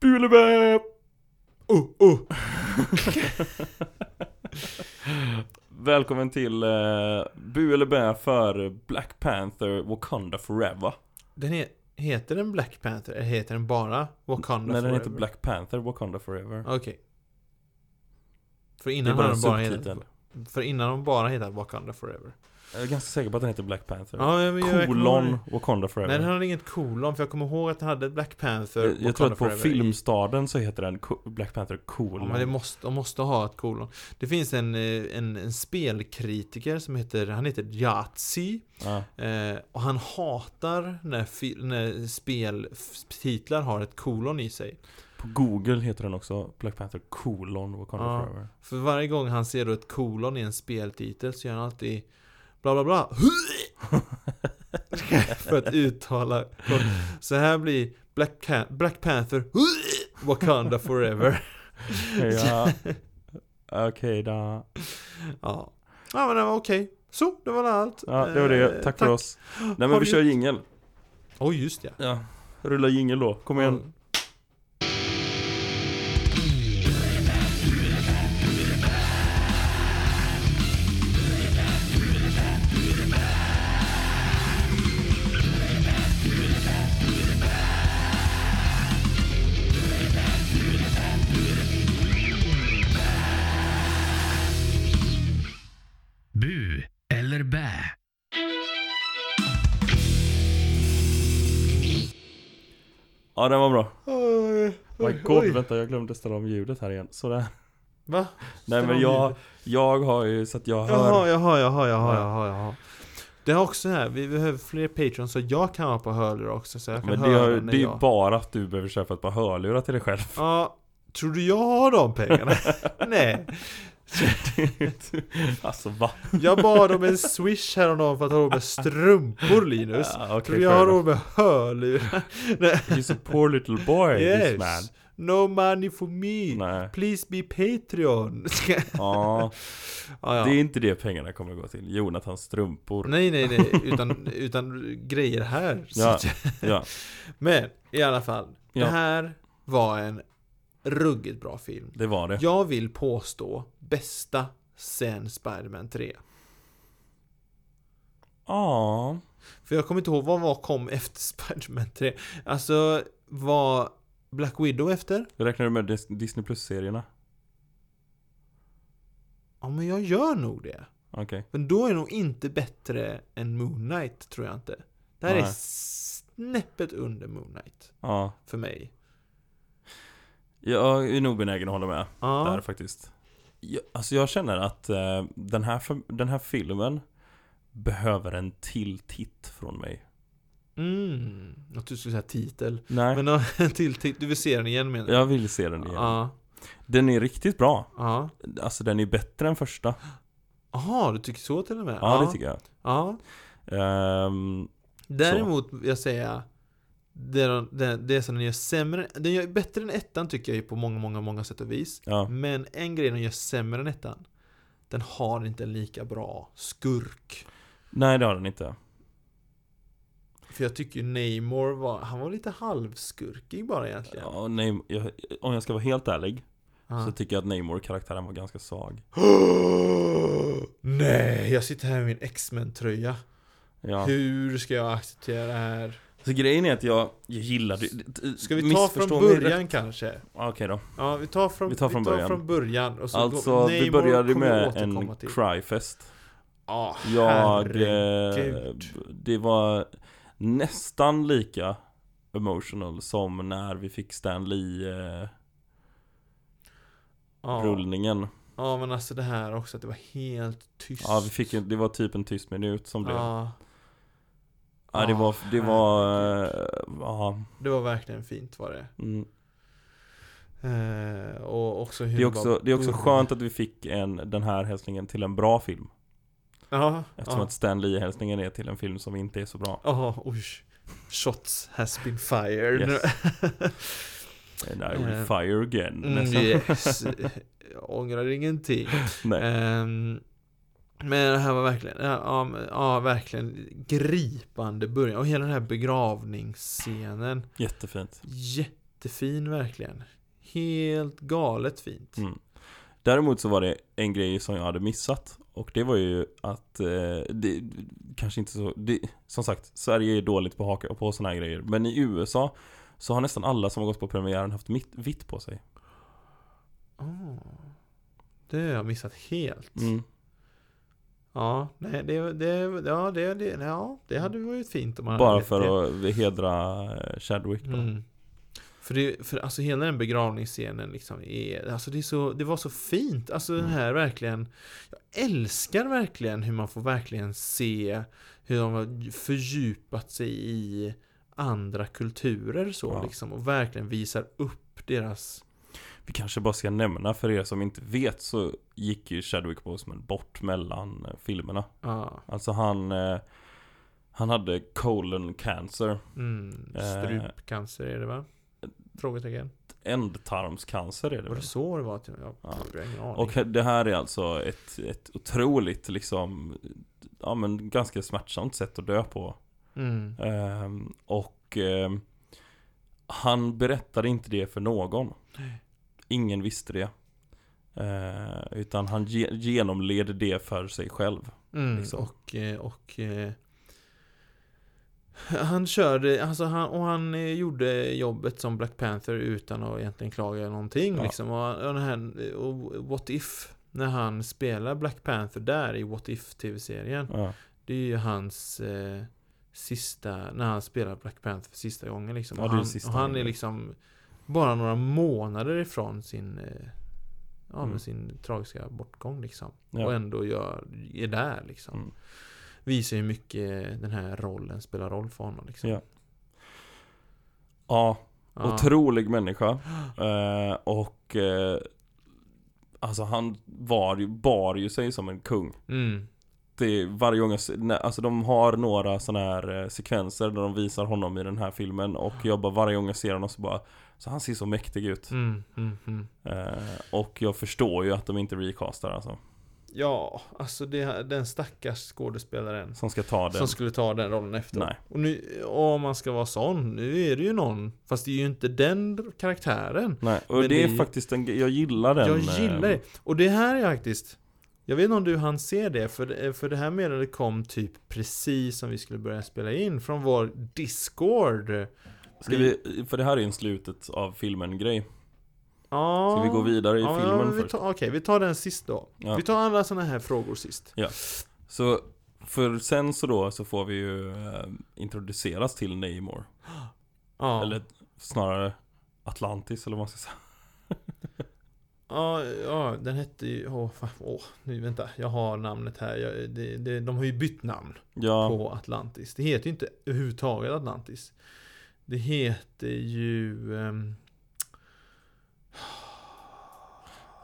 Kulebä! Uh, uh. Välkommen till eh, Bu eller Bä för Black Panther Wakanda Forever. Den he heter den Black Panther? Eller heter den bara Wakanda Nej, den heter Forever? Black Panther Wakanda Forever. Okej. För det är innan bara har en de bara subtitel. hetat, För innan de bara hetat Wakanda Forever. Jag är ganska säker på att den heter Black Panther. Ja, men jag- jag kommer Kolon ihåg- Wakanda Forever. Nej, den hade inget kolon för jag kommer ihåg att den hade Black Panther jag, jag tror att på Forever i- Filmstaden så heter den Ko- Black Panther Cool. Ja, men det måste, de måste ha ett kolon. Det finns en, eh, en, en spelkritiker som heter, han heter Yatzy. Ja. Eh, och han hatar när, fi- när speltitlar har ett kolon i sig. På Google heter den också Black Panther Colon Wakanda Ja. Forever. För varje gång han ser då ett kolon i en speltitel så gör han alltid bla bla bla För att uttala kort. Så här blir Black, Can- Black Panther Wakanda Forever Ja. Okej då. Ja, ja men det var okej Så, det var allt Ja, det var det. Eh, Tack för oss. Nej men Har vi du kör jingel. Oj just ja Ja. Rulla jingel då. Kom igen. Bu eller bä? Ja den var bra. Oj, My oj, god, oj. vänta jag glömde ställa om ljudet här igen. Sådär. Va? Nej men jag, jag har ju så att jag hör. Jaha, jaha, jaha, jaha, jaha, jaha. Det är också här, vi behöver fler patrons så jag kan vara på hörlurar också så jag kan men det, höra har, när det är ju jag... bara att du behöver köpa ett par hörlurar till dig själv. Ja, tror du jag har de pengarna? Nej. alltså va? Jag bad om en swish häromdagen för att ha råd med strumpor Linus. Ja, Tror okay, du jag har råd med hörlurar? Nej. He's a poor little boy this Yes. man. No money for me. Nej. Please be Patreon. Ja, ja, ja. det är inte det pengarna kommer gå till. Jonathans strumpor. Nej, nej, nej. Utan, utan grejer här. Så Ja. att jag- Ja. Men i alla fall. Ja. Det här var en ruggigt bra film. Det var det. Jag vill påstå bästa sen Spider-Man 3. Ja. För jag kommer inte ihåg vad var kom efter Spider-Man 3. Alltså, var Black Widow efter? Räknar du med Dis- Disney Plus-serierna? Ja, men jag gör nog det. Okej. Men då är nog inte bättre än Moon Knight, tror jag inte. Det här är Nej. snäppet under Moon Knight. Ja. För mig. Jag är nog benägen att hålla med. där Ja. faktiskt. Jag, alltså jag känner att eh, den, här, för- den här filmen behöver en till titt från mig. Mm. Jag trodde du skulle säga titel. Nej. Men ja, en till titel. Du vill se den igen menar du? jag vill se den igen. Ja. Den är riktigt bra. Ja. Alltså den är bättre än första. Jaha, du tycker så till och med? Ja, det tycker jag. Ja. Ehm, Däremot vill jag säga det, de- det, det som den gör sämre, den gör bättre än ettan tycker jag ju på många, många, många sätt och vis. ja. Men en grej den gör sämre än ettan, den har inte en lika bra skurk. Nej det har den inte. För jag tycker ju Namor var, han var lite halvskurkig bara egentligen. Ja. Ja, nej, jag, om jag ska vara helt ärlig så tycker jag att Namor-karaktären var ganska svag. Nej, jag sitter här med min X-Men-tröja. Ja. Hur ska jag acceptera det här? Så grejen är att jag, jag gillade ju- Ska vi ta från missförstå mig början rätt. kanske? Ja, Okej då. Ja, vi tar från, Vi tar från början. början och så Alltså går- vi Namor började kommer jag med återkomma en till. cryfest. Ja, Jag... Eh, herregud. det var nästan lika emotional som när vi fick Stan eh, Lee-rullningen. Ja. ja, men alltså det här också att det var helt tyst. Ja, vi fick en, det var typ en tyst minut som blev. Ja, Ja, det var... Det var... herregud. eh, Ja. det var verkligen fint var det. Mm. Eh, och också hur Det är också, bara det är också började. skönt att vi fick en, den här hälsningen till en bra film. Ja, Eftersom ja. att Stan Lee-hälsningen är till en film som inte är så bra. Ja, oj. Shots has been fired. Yes. And I will Eh. fire again. Mm, nästan. yes. Jag ångrar ingenting. Nej. Ehm, men det här var verkligen, ja, ja, men- ja verkligen gripande början. Och hela den här begravningsscenen. Jättefint. jättefin verkligen. Helt galet fint. Mm. Däremot så var det en grej som jag hade missat Och det var ju att eh, det, Kanske inte så det, Som sagt, Sverige är dåligt på att haka på såna här grejer Men i USA Så har nästan alla som har gått på premiären haft mitt, vitt på sig Åh. Det har jag missat helt. mm. Ja, nej, det, det, ja, det, det, ja, det hade varit fint om man hade Bara gett det. för att hedra eh, Chadwick då. Mm. För, det, för alltså hela den begravningsscenen liksom är, alltså det, är så, det var så fint. Alltså Mm. den här verkligen, jag älskar verkligen hur man får verkligen se hur de har fördjupat sig i andra kulturer så Ja. liksom och verkligen visar upp deras Vi kanske bara ska nämna för er som inte vet så gick ju Chadwick Boseman bort mellan eh, filmerna ja, Alltså han eh, Han hade colon cancer mm, Eh. strupcancer är det va? Frågetecken. Ändtarmscancer är det Var väl? det så det var? Till, jag, Ja. jag har ingen aning. Och det här är alltså ett, ett otroligt liksom Ja men ganska smärtsamt sätt att dö på Mm. Ehm, Och ehm, Han berättade inte det för någon Ingen visste det Ehm, Utan han ge- genomled det för sig själv Mm, liksom. och, eh, och eh, han körde, alltså han, och han eh, gjorde jobbet som Black Panther utan att egentligen klaga någonting Ja. liksom. Och, och, den här, och What If, när han spelar Black Panther där i What If-tv-serien. Ja. Det är ju hans eh, sista, när han spelar Black Panther för sista gången liksom. Ja, och det är han, sista och han är gången. liksom bara några månader ifrån sin, eh, ja, men Mm. sin tragiska bortgång liksom. Ja. Och ändå gör, är där liksom. Mm. Visar hur mycket den här rollen spelar roll för honom liksom. Ja. ja, Ja. otrolig människa Eh, Och eh, Alltså han var ju, bar ju sig som en kung Mm. det är varje gång jag ser, när- alltså de har några sådana här eh, sekvenser där de visar honom i den här filmen och jag bara varje gång jag ser honom så bara Så han ser så mäktig ut Mm, mm, mm. eh, Och jag förstår ju att de inte recastar alltså Ja, alltså det, den stackars skådespelaren. Som ska ta den Som skulle ta den rollen efter. Nej. Och nu, om man ska vara sån, nu är det ju någon. Fast det är ju inte den karaktären. Nej, och det, Men det är är ju- faktiskt en jag gillar den jag gillar eh, det. Och det här är faktiskt. Jag vet inte om du hann se det, för, det- för det här meddelandet kom typ precis som vi skulle börja spela in. Från vår Discord. ska vi, För det här är ju en slutet av filmen grej Ja. Ska vi gå vidare i Ja, men filmen vi först? tar- Okej, vi tar den sist då. Ja. Vi tar alla såna här frågor sist. Så för sen så då så får vi ju eh, introduceras till Namor Ja, Eller snarare Atlantis eller vad man ska säga ja, ja den hette ju... Åh, fan, åh, nu vänta. Jag har namnet här. Jag, det, det, de har ju bytt namn Ja, på Atlantis. Det heter ju inte överhuvudtaget Atlantis. Det heter ju... Um,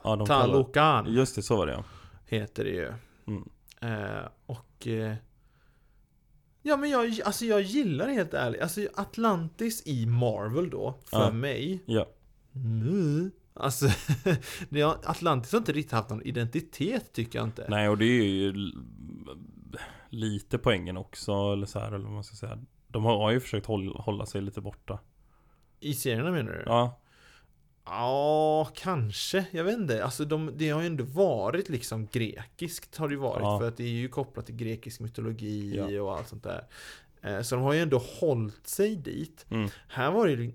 ja de kallar- Talokan Just det, så var det ja. heter det ju. Mm. Eh, och... Eh, ja, men jag, alltså jag gillar det helt ärligt. Alltså Atlantis i Marvel då, för Ja. mig. ja. Nu? Alltså, det har- Atlantis har inte riktigt haft någon identitet tycker jag inte. Nej, och det är ju l- lite poängen också, eller så här, eller vad man ska säga. De har ju försökt hålla, hålla sig lite borta. I serierna menar du? Ja, Ja, kanske. Jag vet inte. Alltså de, det har ju ändå varit liksom grekiskt har det ju varit. Ja. För att det är ju kopplat till grekisk mytologi Ja. och allt sånt där. Eh, Så de har ju ändå hållit sig dit. Mm. Här var det ju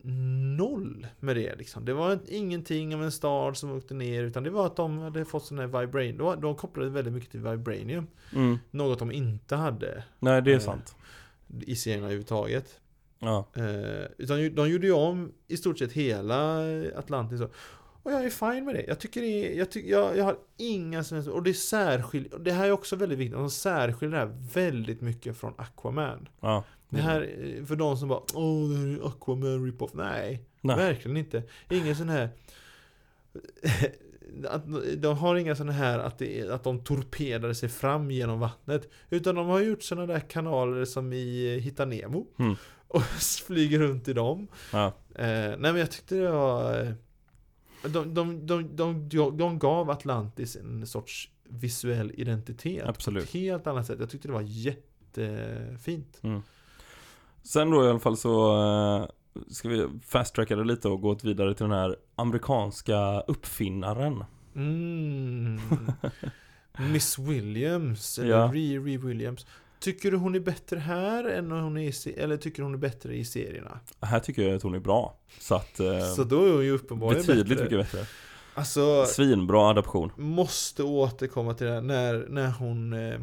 noll med det liksom. Det var ingenting av en stad som åkte ner utan det var att de hade fått sån här vibranium. De, var- de kopplade väldigt mycket till vibranium. mm. Något de inte hade nej det är Eh. sant. i serierna överhuvudtaget. Ja, Eh, utan ju- de gjorde ju om i stort sett hela Atlantis. och- Och jag är fine med det. Jag tycker det är, jag, tycker, jag, jag har inga som helst, och det särskiljer, och det här är också väldigt viktigt, de särskiljer det här väldigt mycket från Aquaman. ja. Det här, Mm. eh, för de som bara Åh, det här är Aquaman rip-off. Nej, Nej. verkligen inte. Ingen sån här att de har inga såna här att, det är, att de torpedade sig fram genom vattnet. Utan de har gjort såna där kanaler som i eh, Hitta Nemo. Mm. Och flyger runt i dem. Ja. Eh, nej men jag tyckte det var... eh, De, de, de, de, de, de gav Atlantis en sorts visuell identitet. På Absolut. ett helt annat sätt. Jag tyckte det var jättefint. Sen då i alla fall så eh, ska vi fast-tracka det lite och gå vidare till den här amerikanska uppfinnaren. Mm. Miss Williams, eller Ja. Riri Williams. Tycker du hon är bättre här än när hon är i se- eller tycker hon är bättre i serierna? Här tycker jag att hon är bra. Så att... Eh, Så då är hon ju uppenbarligen betydligt bättre. mycket bättre. Alltså, Svinbra adaption. måste återkomma till det här när, när hon... Eh,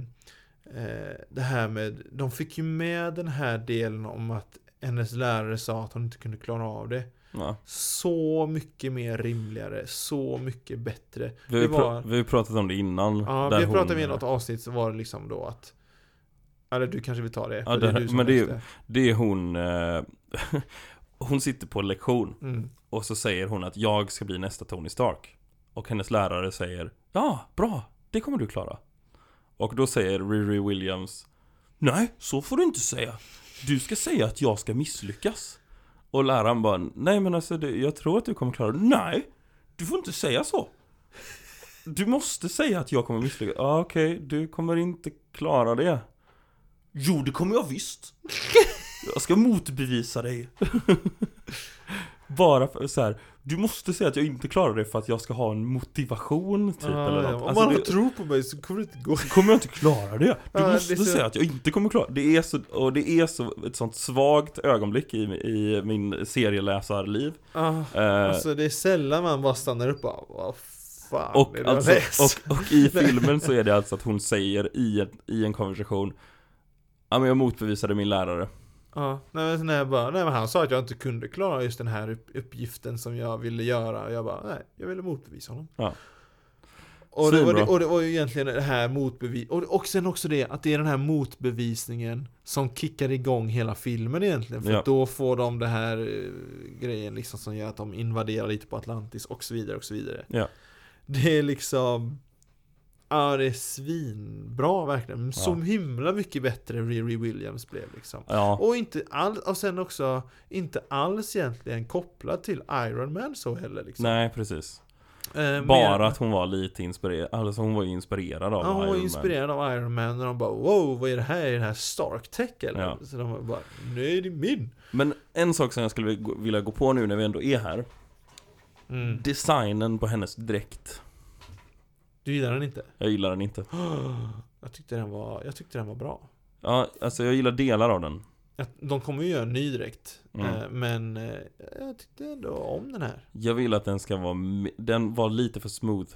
eh, det här med... De fick ju med den här delen om att hennes lärare sa att hon inte kunde klara av det. Ja. Så mycket mer rimligare, så mycket bättre. Vi, har ju Det var- pra- vi har ju pratat om det innan. Ja, där vi pratade hon- om i något avsnitt så var det liksom då att Eller du kanske vill ta det? Ja, för det- är du som men det är ju- läste. Det är hon... Eh, hon sitter på en lektion Mm. och så säger hon att jag ska bli nästa Tony Stark. Och hennes lärare säger Ja, bra! Det kommer du klara. Och då säger Riri Williams Nej, så får du inte säga. Du ska säga att jag ska misslyckas. Och läraren bara Nej men alltså det, jag tror att du kommer klara det. Nej! Du får inte säga så! Du måste säga att jag kommer misslyckas. Ah, Okej, du kommer inte klara det. Jo, det kommer jag visst! Jag ska motbevisa dig. Bara för så här. Du måste säga att jag inte klarar det för att jag ska ha en motivation typ Ja, eller Ah, ja. något. Om Alltså, man det- tror på mig så kommer det inte gå. så kommer jag inte klara det. Du Ja, det är måste så- säga att jag inte kommer klara det. Är så, och det är så, ett sånt svagt ögonblick i, i min serieläsarliv. Ah, Eh, alltså det är sällan man bara stannar upp och bara, vad fan och, är det alltså, jag läser?" och, och i filmen så är det alltså att hon säger i, ett, i en konversation Ja men jag motbevisade min lärare. Ja, nej men, sån här bara, nej men han sa att jag inte kunde klara just den här upp- uppgiften som jag ville göra och jag bara, nej, jag ville motbevisa honom. Ja. Och det, var det, Svinbra. och det var ju egentligen det här motbevis och, och sen också det att det är den här motbevisningen som kickar igång hela filmen egentligen. För Ja. att då får de det här eh, grejen liksom som gör att de invaderar lite på Atlantis och så vidare och så vidare. Ja. Det är liksom Ja det är svinbra verkligen. Så Ja. himla mycket bättre Riri Williams blev liksom. Ja, Och inte alls, och sen också inte alls egentligen kopplad till Iron Man så heller liksom. nej precis. Eh, mer- Bara att hon var lite inspirerad, alltså hon var ju inspirerad av Ja, hon var Iron Man. inspirerad av Iron Man och de bara wow, vad är det här? Är det här Stark Tech eller? Ja. Så de bara, nej det är min! Men en sak som jag skulle vilja gå- vilja gå på nu när vi ändå är här. Mm. Designen på hennes dräkt. Du gillar den inte? Jag gillar den inte. Jag tyckte den var, jag tyckte den var bra. Ja, alltså jag gillar delar av den. Jag, de kommer ju göra en ny direkt. Mm. Eh, men eh, jag tyckte ändå om den här. Jag vill att den ska vara, m- den var lite för smooth.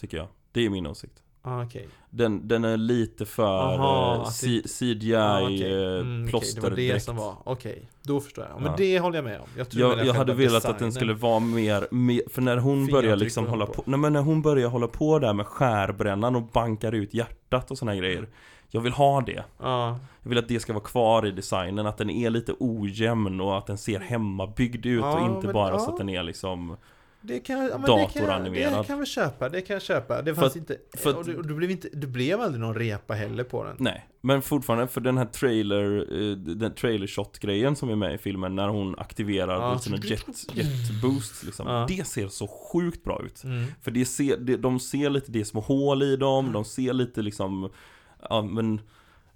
Tycker jag. Det är min åsikt. Ah, okej. Den, den är lite för Aha, eh, att C- CGI Ah, okej. eh, Mm, okej, Det var det plåsterdräkt. som var, okej. Då förstår jag. Men Ja. det håller jag med om. Jag, tror jag, väl jag hade själva velat att den designen- skulle vara mer, mer för när hon Fingeravtryck börjar liksom och hålla hålla på, nej men när hon börjar hålla på där med skärbrännaren och bankar ut hjärtat och såna här grejer. Jag vill ha det. Ja, Jag vill att det ska vara kvar i designen, att den är lite ojämn och att den ser hemmabyggd ut Ja, och inte men- bara så ja. att den är liksom Det kan, ja, men det kan, Datoranimerad. det kan vi köpa, det kan jag köpa. Det fanns att- inte, för att- och du, och du blev inte, du blev aldrig någon repa heller på den. Nej, men fortfarande för den här trailer, eh, den trailer shot grejen som är med i filmen när hon aktiverar Ja. sina jet, jet boosts liksom. Ja. Det ser så sjukt bra ut. Mm. För det ser, det, de ser lite, det är små hål i dem, de ser lite liksom, ja men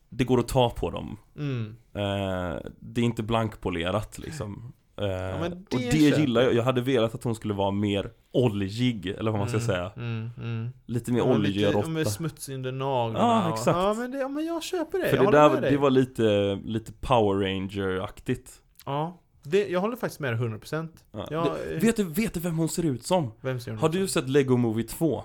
det går att ta på dem. Mm. Eh, det är inte blankpolerat liksom. Eh, men och det det köper gillar jag. Jag hade velat att hon skulle vara mer oljig, eller vad man ska mm, säga. Mm, mm. Lite mer Och oljig lite- och råtta. Med smuts under naglarna. Ja, och- exakt. Ja, men, det, ja, men jag köper det. För jag det håller där, med dig. det var lite, lite Power Ranger-aktigt. Ja, det, jag håller faktiskt med dig 100%. Ja. Ja, Det- eh, vet, du, vet du vem hon ser ut som? Vem ser hon Har ut som? du sett Lego Movie 2?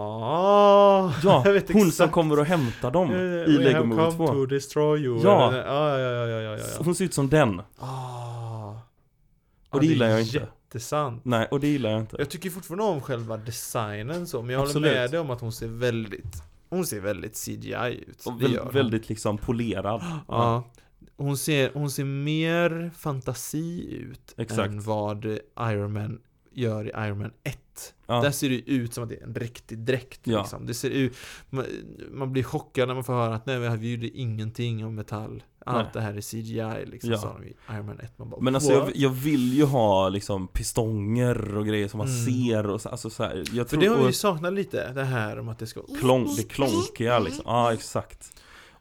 Ja, Ja, jag vet hon exakt. som kommer och hämtar dem Eh, i We Lego have Movie come 2. to destroy you. Ja. Eller- ja, ja, ja, ja, ja, ja. ja. Hon ser ut som den. Ah. Och Ja, det är gillar jag inte. Jättesant. Nej, och det gillar jag inte. Jag tycker fortfarande om själva designen så, men jag Absolut. håller med dig om att hon ser väldigt Hon ser väldigt CGI ut. Och det väl, gör hon. väldigt liksom polerad. Ja. Hon ser, hon ser mer fantasi ut Exakt. än vad Iron Man gör i Iron Man 1. Ja. Där ser det ju ut som att det är en riktig dräkt. Ja. Liksom. Det ser ut, man, man blir chockad när man får höra att nej, vi gjorde ingenting om metall. Allt Nej. det här är CGI liksom, Ja. sa de i Iron Man 1. Man bara, Men alltså "What?" jag, jag vill ju ha liksom pistonger och grejer som man Mm. ser och så, alltså så här, Jag För tror det har vi ju och saknat lite, det här om att det ska vara klonk, det klonkiga liksom. Ja, exakt.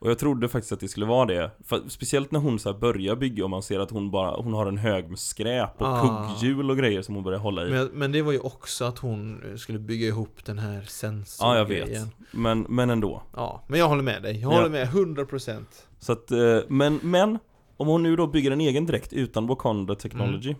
Och jag trodde faktiskt att det skulle vara det. För, speciellt när hon så här börjar bygga och man ser att hon bara, hon har en hög med skräp och Ah. kugghjul och grejer som hon börjar hålla i. Men, men det var ju också att hon eh, skulle bygga ihop den här sensorn ja, jag vet. Men, men ändå. Ja, men jag håller med dig. Jag Ja. håller med 100%. Så att, eh, men, men om hon nu då bygger en egen dräkt utan Wakanda Technology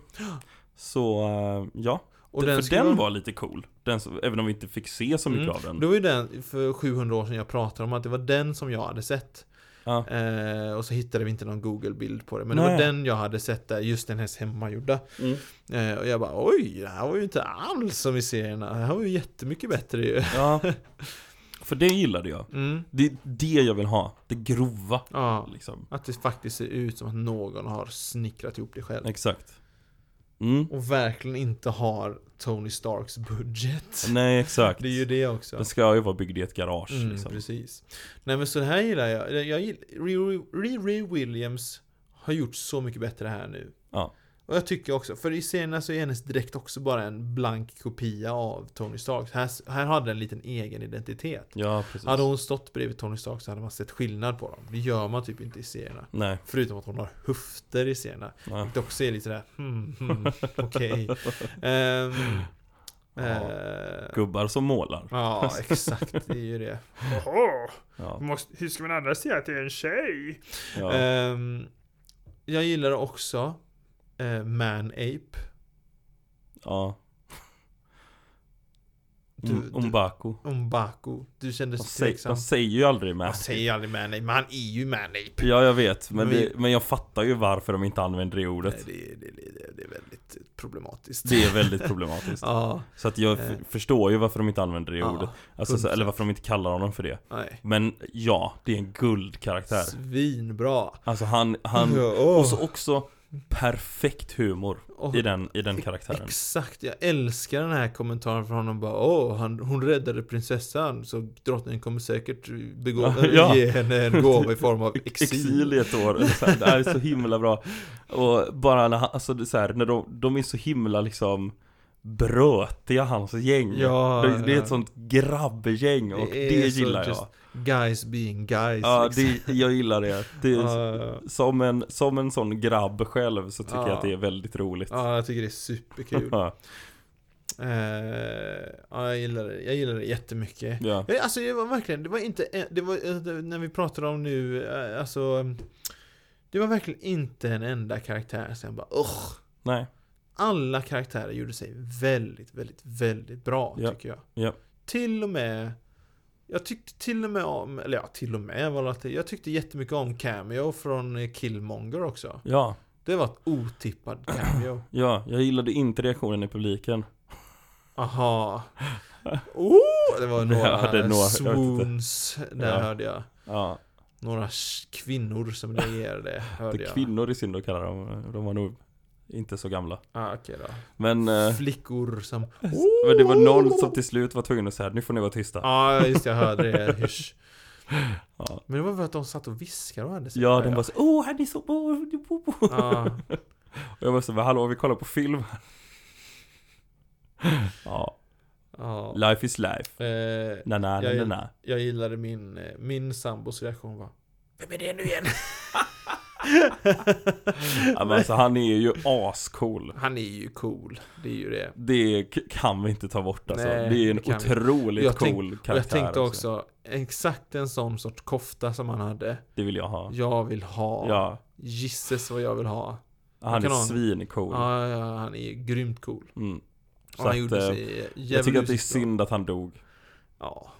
Så, eh, ja. Mm. Och den, för skulle den vara- var lite cool. Den, som- även om vi inte fick se så mycket Mm. av den. Det var ju den för 700 år sedan jag pratade om att det var den som jag hade sett. Ja. Eh, och så hittade vi inte någon Google-bild på det. Men det Nej. var den jag hade sett där, just den här hemmagjorda. Mm. Eh, och jag bara oj, det här var ju inte alls som i serierna. Det här var ju jättemycket bättre ju. Ja. För det gillade jag. Mm. Det är det jag vill ha. Det grova. Ja. Liksom. Att det faktiskt ser ut som att någon har snickrat ihop det själv. Exakt. Mm. Och verkligen inte har Tony Starks budget. Nej, exakt. Det är ju det också. Den ska ju vara byggd i ett garage. Mm, liksom. Precis. Nej men så det här gillar jag. jag gill- Riri- Riri Williams har gjort så mycket bättre här nu. Ja. Och jag tycker också, för i serierna så är hennes dräkt också bara en blank kopia av Tony Starks. Här, här hade den en liten egen identitet. Ja, precis. Hade hon stått bredvid Tony Stark så hade man sett skillnad på dem. Det gör man typ inte i serierna. Nej. Förutom att hon har höfter i serierna. Ja. Vilket också är lite sådär, hmm, hmm, okej. Ehm, Ja. eh, Gubbar som målar. Ja, exakt. Det är ju det. Ja. Måste, hur ska man annars säga att det är en tjej? Ja. Ehm, jag gillar också eh, Man-Ape. ja. Du- Mm, du- Umbaku. Umbaku. Du De, kändes säger, de tveksam. säger ju aldrig med. Man säger aldrig Man-Ape, men han är ju Man-Ape. Ja, jag vet. Men, Men vi- det, men jag fattar ju varför de inte använder det ordet. Nej, det, är- det, det, det är väldigt problematiskt. Det är väldigt problematiskt. Ja, Så att jag f- Eh. förstår ju varför de inte använder det Ja, ordet. Alltså, så, eller 100%. varför de inte kallar honom för det. nej. Men ja, det är en guldkaraktär. Svinbra. Alltså han, han... Ja, åh. Och så också perfekt humor Åh, i den, i den karaktären. Exakt, jag älskar den här kommentaren från honom bara Åh, han, hon räddade prinsessan så drottningen kommer säkert begå, Ja, ja. ge henne en gåva i form av exil. Exil i ett år. Eller Så här, det här är så himla bra. Och bara när, han, alltså det är så här, när de, de är så himla liksom brötiga, hans gäng. Ja, det, det är ja. ett sånt grabbgäng och det, är så gillar jag. just Guys being guys. Ja, liksom. det, jag gillar det. det är, Ja, som, en, som en sån grabb själv så tycker jag Ja. att det är väldigt roligt. ja, jag tycker det är superkul. Ja, Eh, ja, jag gillar det. Jag gillar det jättemycket. ja. Ja, Alltså det var verkligen, det var inte, det var, eh, när vi pratade om nu, eh, alltså Det var verkligen inte en enda karaktär som jag bara Ugh. Nej, Alla karaktärer gjorde sig väldigt, väldigt, väldigt bra Ja, tycker jag. ja. Till och med jag tyckte till och med om, eller ja, till och med var det att jag tyckte jättemycket om Cameo från eh, Killmonger också. ja, Det var ett otippad cameo. ja. Jag gillade inte reaktionen i publiken. Aha. Oh, det var några, Ja, det är några, jag vet inte. swoons. Där Ja. hörde jag. Ja, Några sh- kvinnor som reagerade, hörde det är jag. kvinnor i synd att kalla dem. De var nog inte så gamla. Ah, okej då. Men, eh, Flickor som... men det var någon som till slut var tvungen att säga nu får ni vara tysta. Ja, just det, jag hörde det. Hysch. Ja. Men det var för att de satt och viskade och hade sig. Ja, de bara så, åh han är så... Oh, oh, oh. Ja, Och jag var så, "Men hallå vi kollar på film här." Ja, ja. life is life. Eh, Na, na, na, Jag- na, na. jag gillade min, eh, min sambos reaktion var Vem är det nu igen? Ja, men alltså han är ju ascool. Han är ju cool, det är ju det. Det k- kan vi inte ta bort alltså. Nej, det är en det kan vi otroligt Jag tänk- cool Och karaktär. jag tänkte alltså. också, exakt en sån sorts kofta som han hade. Det vill jag ha. Jag vill ha. Ja. Gisses vad jag vill ha. Han är kan ha en- svincool. Ja, ja, han är grymt cool. Mm. Så Och han att, gjorde eh, sig Jag tycker att det är djävulusiskt bra. synd att han dog. Ja.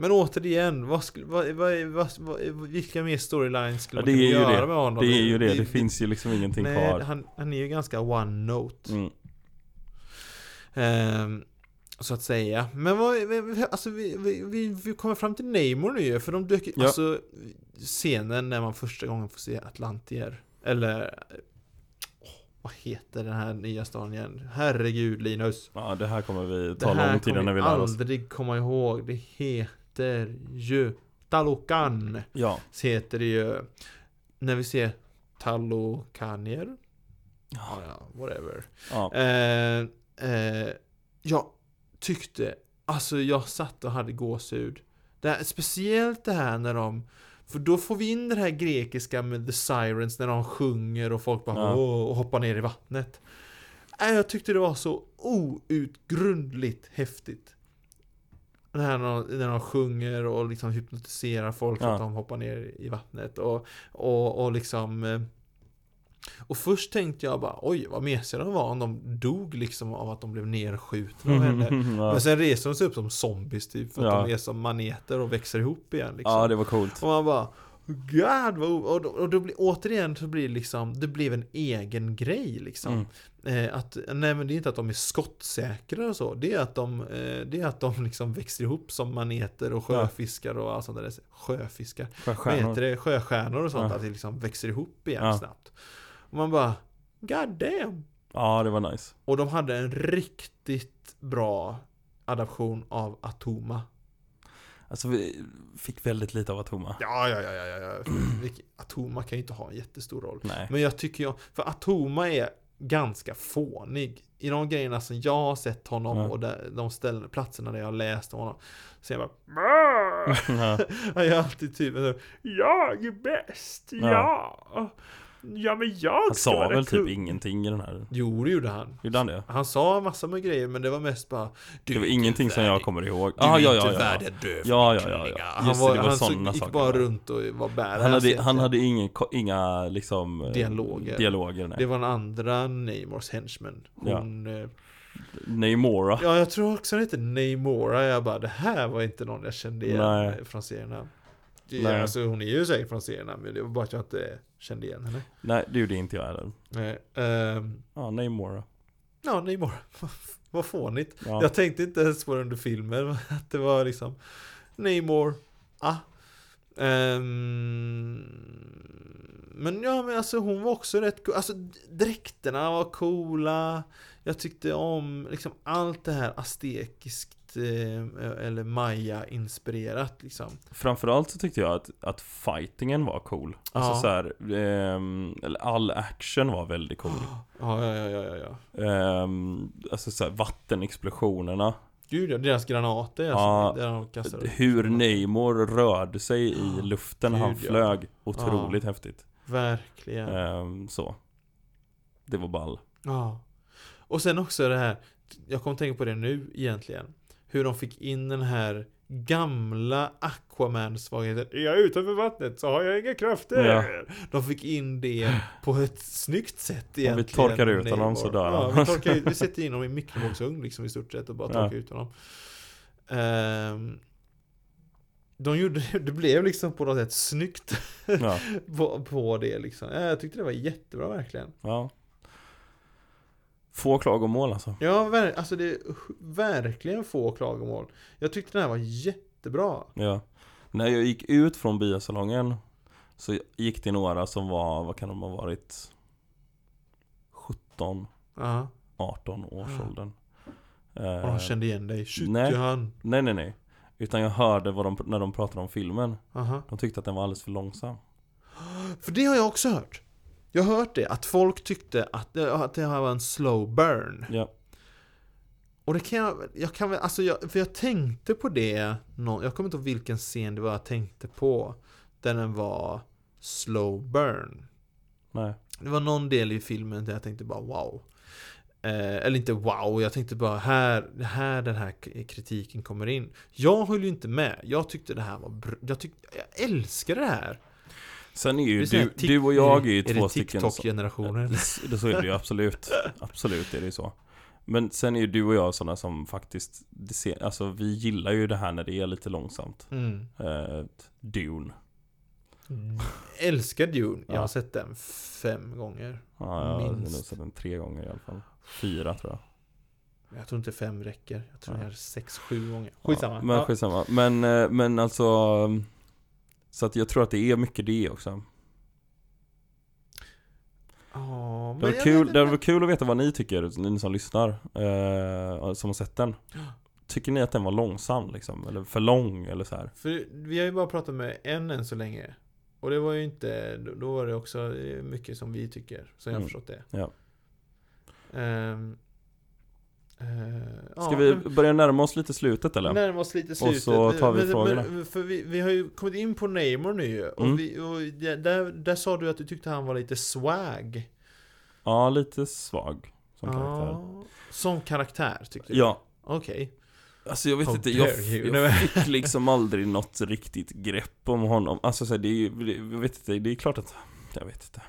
Men återigen, vad skulle, vad, vad, vad, vad, vilka mer storylines skulle Ja, man det är kunna ju göra det. med honom? Det är ju det, det finns ju liksom ingenting nej, kvar. Han, han är ju ganska one-note. Mm. Ehm, så att säga. Men vad, vi- alltså vi, vi, vi, vi kommer fram till Namor nu ju, för de dök Ja. alltså scenen när man första gången får se Atlantier. Eller, åh, vad heter den här nya staden igen? Herregud Linus. Ja, det här kommer vi Det ta lång här tid kommer innan vi vi lär oss. aldrig komma ihåg. Det heter ju Talokan. Ja. Heter det ju. När vi ser Talokanier. Ja, Ja. ja, whatever. ja. Eh, eh, jag tyckte, alltså jag satt och hade gåshud. Det här, speciellt det här när de, För då får vi in det här grekiska med the sirens när de sjunger och folk bara Ja. "Åh", och hoppar ner i vattnet. Äh, jag tyckte det var så outgrundligt häftigt. Det här när de, när de sjunger och liksom hypnotiserar folk så Ja. att de hoppar ner i vattnet och, och, och liksom eh, och först tänkte jag bara oj vad mesiga de var om de dog liksom av att de blev nerskjutna av henne. Mm. ja. Men sen reser de sig upp som zombies typ för att Ja. de är som maneter och växer ihop igen liksom. ja, det var coolt. Och man bara God, vad o- och, då, och då blir, återigen så blir det liksom, det blev en egen grej liksom. Mm. Eh, att, nej men det är inte att de är skottsäkra och så, det är att de, eh, det är att de liksom växer ihop som maneter och Ja. sjöfiskar och allt sånt där. Sjöfiskar? Vad heter Stjärnor. det? Sjöstjärnor och sånt, Ja. att det liksom växer ihop igen Ja. snabbt. Och man bara God damn! Ja, det var nice. Och de hade en riktigt bra adaption av Atoma. Alltså vi fick väldigt lite av Atoma. Ja, ja, ja, ja, ja, ja. Vilk- Atoma kan ju inte ha en jättestor roll. Nej. Men jag tycker jag, för Atoma är ganska fånig. I de grejerna som jag har sett honom Ja. och där, de ställen, platserna där jag har läst om honom. Så jag Ma, Ja. bara, jag är alltid typ så, jag är bäst, Ja. ja. Ja men jag Han ska sa vara väl typ kung. ingenting i den här. Jo, det gjorde han. Gjorde han det? Han sa massa med grejer men det var mest bara Du Det var är ingenting som jag värdig. kommer ihåg. Du Ah, är ja, inte ja, ja. värd att dö för Ja, din ja, ja, kvinna. ja. Han, Just var, det, det var han så, sådana gick saker, bara ja. runt och var badass Han hade, egentligen. han hade ingen, ko- inga liksom eh, Dialoger. dialoger nej. Det var den andra Namors henchman. Ja. Hon, eh, Namora. ja, jag tror också hon hette Namora. Jag bara, det här var inte någon jag kände igen Nej. från serierna. Det- Nej. Alltså hon är ju säkert från serierna, men det var bara att jag inte kände igen henne. Nej, det gjorde inte jag heller. Nej, ehm, Ja, Namora. ja, Namora. Vad fånigt. Ja. Jag tänkte inte ens på det under filmen, att det var liksom Namor, ah. Ehm, men ja, men alltså hon var också rätt cool. Alltså d- dräkterna var coola. Jag tyckte om liksom allt det här aztekiskt eh, eller maya-inspirerat liksom. Framförallt så tyckte jag att, att fightingen var cool. Alltså Ja. så här, ehm, eller all action var väldigt cool. Ah. Ja, ja, ja, ja, ja, ja. Ehm, alltså så här, vattenexplosionerna. Gud ja, deras granater Ja, alltså, där de kastar upp. Hur Namor rörde sig i luften när han Ah, Gud, ja. Ah. flög. Otroligt häftigt. Verkligen. Ehm, så. Det var ball. Ja. Och sen också det här, jag kommer tänka på det nu egentligen. Hur de fick in den här gamla Aquaman-svagheten. Är jag utanför vattnet så har jag inga krafter. Ja. De fick in det på ett snyggt sätt egentligen. torkar ut Namor. honom så dör ja, han. vi, torkar ut, vi sätter in honom i mikrovågsugn liksom i stort sett och bara Ja. torkar ut honom. Ehm, de gjorde, det blev liksom på något sätt snyggt Ja. på, på det liksom. Ja, Jag tyckte det var jättebra verkligen. ja. Få klagomål alltså. Ja, ver- alltså det är verkligen få klagomål. Jag tyckte den här var jättebra. Ja. När jag gick ut från biosalongen så gick det några som var, vad kan de ha varit? 17, Ja, 18 års åldern. och de Eh, kände igen dig. Shit, nej. Johan. nej, nej, nej. Utan jag hörde vad de, när de pratade om filmen. Aha. De tyckte att den var alldeles för långsam. För det har jag också hört. Jag har hört det, att folk tyckte att det, att det här var en slow burn. Ja. Och det kan jag, jag kan väl, alltså jag, för jag tänkte på det, någon, jag kommer inte ihåg vilken scen det var jag tänkte på. Där den var slow burn. Nej. Det var någon del i filmen där jag tänkte bara wow. Eh, eller inte wow, jag tänkte bara här, det här den här k- kritiken kommer in. Jag höll ju inte med. Jag tyckte det här var br- jag, tyck- jag älskar det här. Sen är Det ju är sån här du, tick- du och jag är det- ju det två stycken som- TikTok-generationen. Det, så är det ju absolut. Absolut är det ju så. Men sen är ju du och jag sådana som faktiskt, det ser, alltså vi gillar ju det här när det är lite långsamt. Mm. Eh, Dune. Älskar Dune. Jag har Ja. sett den fem gånger. Ja, jag har nog Minst. sett den tre gånger i alla fall. Fyra tror jag. Jag tror inte fem räcker. Jag tror Ja. jag är sex, sju gånger. Ja, Skitsamma. Ja, Men skitsamma. Men, eh, men alltså, mm, så att jag tror att det är mycket det också. Ja, men Det var jag kul, vet det inte. var kul att veta vad ni tycker, ni som lyssnar. Eh, som har sett den. Tycker ni att den var långsam liksom? Eller för lång eller så här? För vi har ju bara pratat med en än så länge. Och det var ju inte, då- då var det också eh, mycket som vi tycker, som jag har Mm. förstått det. Ja. Ehm, Eh, Ska ja, vi men- börja närma oss lite slutet eller? Närma oss lite slutet. så tar vi Men- men- frågorna. men- För vi, vi har ju kommit in på Neymar nu ju. Mm. Och, vi, och där, där- där sa du att du tyckte han var lite swag. Ja, lite svag som karaktär. Ja, Typ. som karaktär tyckte du? Ja, Okej. Alltså jag vet How inte, jag, dare you. jag fick liksom aldrig något riktigt grepp om honom. Alltså så här, det är ju, det- jag vet inte, det är klart att, jag vet inte.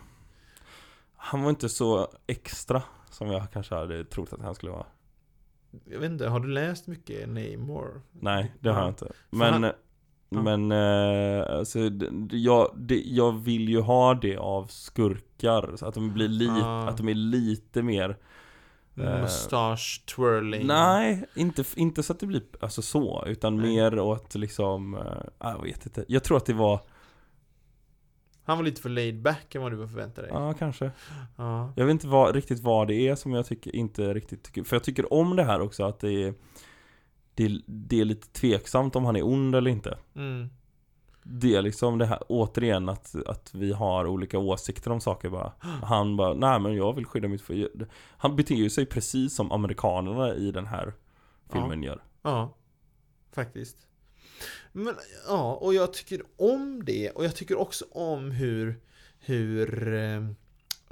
Han var inte så extra som jag kanske hade trott att han skulle vara. Jag vet inte, har du läst mycket Neymar? Nej, det har jag Ja. inte. Men, eh, han- Ja. men eh, alltså, det- jag, det, jag vill ju ha det av skurkar. Så att de blir lite, Ah. att de är lite mer Eh, Mustasch twirling? Nej, inte, inte så att det blir alltså så, utan Nej. mer åt liksom, eh, ah, jag vet inte. Jag tror att det var, Han var lite för laid back än vad du förväntade dig. ja kanske. Ja. Jag vet inte vad, riktigt vad det är som jag tycker, inte riktigt tycker, för jag tycker om det här också att det är det, är- det är lite tveksamt om han är ond eller inte. Mm. Det är liksom det här, återigen att, att vi har olika åsikter om saker bara. Han bara, nej men jag vill skydda mitt för-" Han beter ju sig precis som amerikanerna i den här filmen gör. Ja, faktiskt. Men ja, och jag tycker om det. Och jag tycker också om hur, hur eh,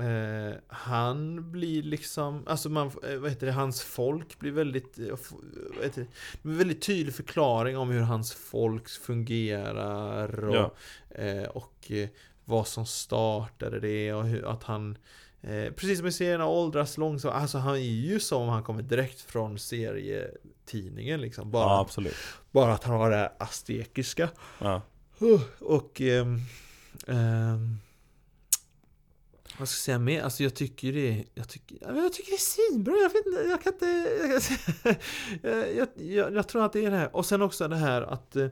eh, han blir liksom, alltså man, eh, vad heter det, hans folk blir väldigt, eh, f- vad heter det, det blir väldigt tydlig förklaring om hur hans folk fungerar och, Ja. eh, och eh, vad som startade det och hur, att han Eh, precis som i serierna åldras långsamt. Alltså han är ju som om han kommer direkt från serietidningen liksom. Bara, Ja, absolut. bara att han har det här aztekiska. Ja. Huh, Och... ehm, ehm, vad ska jag säga mer? Alltså jag tycker det... Jag tycker, ja, men jag tycker det är svinbra. Jag vet inte, jag kan inte... Jag, kan, jag, jag, jag tror att det är det här. Och sen också det här att eh,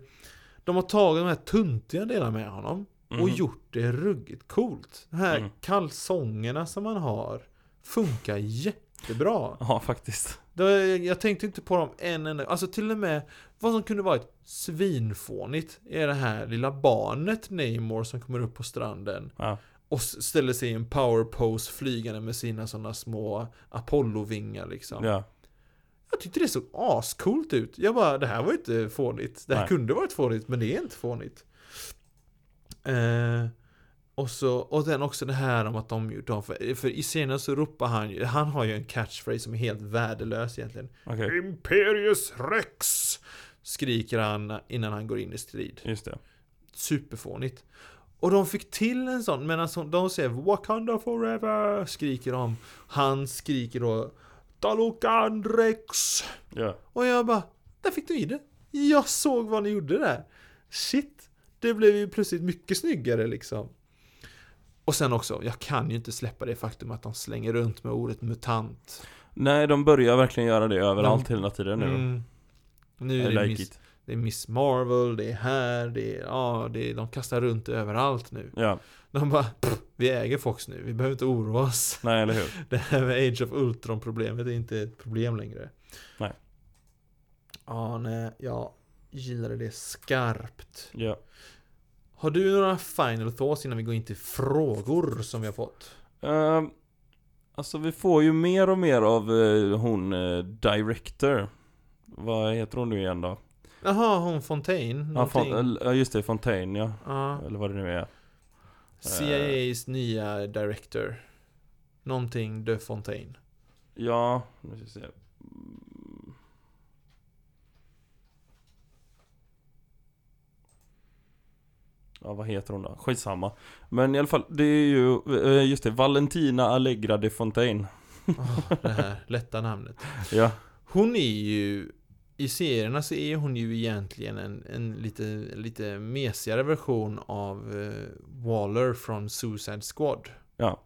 de har tagit de här tuntiga delarna med honom och Mhm. gjort det ruggigt coolt. De här Mm. kalsongerna som han har funkar jättebra. Ja, faktiskt. Då, jag tänkte inte på dem en enda Alltså till och med vad som kunde varit svinfånigt är det här lilla barnet Namor som kommer upp på stranden Ja. och s- ställer sig i en power pose flygande med sina sådana små Apollo-vingar liksom. Ja. Jag tyckte det såg ascoolt ut. Jag bara, det här var ju inte fånigt. Det här Nej. kunde varit fånigt, men det är inte fånigt. Eh, och, så, och sen också det här om att de gjort om, för, för i scenen så ropar han ju, han har ju en catchphrase som är helt värdelös egentligen. Okej, Imperius Rex! Skriker han innan han går in i strid. just det. Superfånigt. Och de fick till en sån, men alltså, de säger Wakanda forever! Skriker de. Han skriker då Talokan Rex! Ja. Och jag bara, där fick du i det. Jag såg vad ni gjorde där. Shit, det blev ju plötsligt mycket snyggare liksom. Och sen också, jag kan ju inte släppa det faktum att de slänger runt med ordet mutant. Nej, de börjar verkligen göra det överallt hela tiden nu. Mm. Nu I är det like miss, it. det är Miss Marvel, det är här, det är, ja, det är, de kastar runt överallt nu. Ja, De bara, "Pff, vi äger Fox nu, vi behöver inte oroa oss. nej eller hur? Det här med Age of Ultron problemet är inte ett problem längre. Nej. Ja, nej, jag gillade det skarpt. Ja. Har du några final thoughts innan vi går in till frågor som vi har fått? Ehm, alltså vi får ju mer och mer av eh, hon eh, director. Vad heter hon nu igen då? Jaha, hon Fontaine? Ja, någonting. Fon- ja, just det, Fontaine ja. Ja, Eller vad det nu är. CIA's nya director. Någonting de Fontaine. Ja, nu ska vi se. Mm. Ja, vad heter hon då? Skitsamma. Men i alla fall, det är ju, eh, just det, Valentina Allegra de Fontaine. Åh, det här lätta namnet. Ja, Hon är ju I serierna så är hon ju egentligen en, en lite, lite mesigare version av eh, Waller från Suicide Squad ja.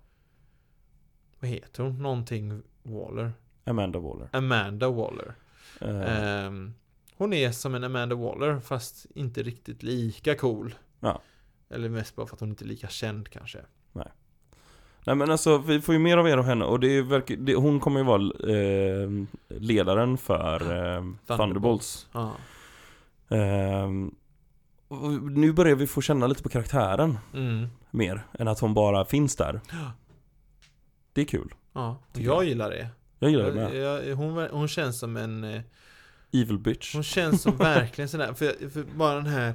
Vad heter hon? Någonting Waller Amanda Waller. Amanda Waller Eh, Ehm, Hon är som en Amanda Waller fast inte riktigt lika cool Ja. Eller mest bara för att hon inte är lika känd kanske Nej men alltså, vi får ju mer av er och henne och det är verkar, det, hon kommer ju vara eh, ledaren för eh, Thunderbolts. Ja, Ehm, och nu börjar vi få känna lite på karaktären. mm, mer än att hon bara finns där. Ja. Det är kul. ja. Och Tycker jag. jag gillar det Jag gillar det Jag, med. jag, hon, ver- hon känns som en... eh, Evil bitch. Hon känns som verkligen sådär, för, för bara den här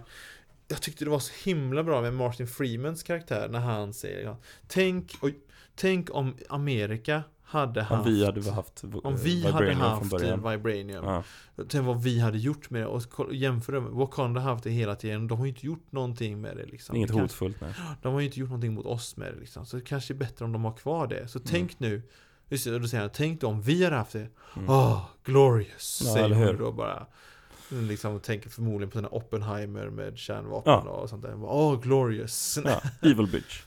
Jag tyckte det var så himla bra med Martin Freemans karaktär när han säger ja, Tänk, oj, tänk om Amerika hade Om haft vi hade haft v- om vi hade Vibranium haft från början. Vibranium Ja. Tänk vad vi hade gjort med det och kolla- jämför det med Wakanda har haft det hela tiden De har ju inte gjort någonting med det liksom Inget Det kan- hotfullt nej. De har ju inte gjort någonting mot oss med det liksom Så det kanske är bättre om de har kvar det Så tänk nu Just det, och då säger han, tänk då om vi hade haft det Mm. Ah, glorious! Ja, säger eller hon hur? då bara. Liksom och tänker förmodligen på den här Oppenheimer med kärnvapen Ja. och sånt där. Bara, Ah, glorious! Ja. Ja, evil bitch.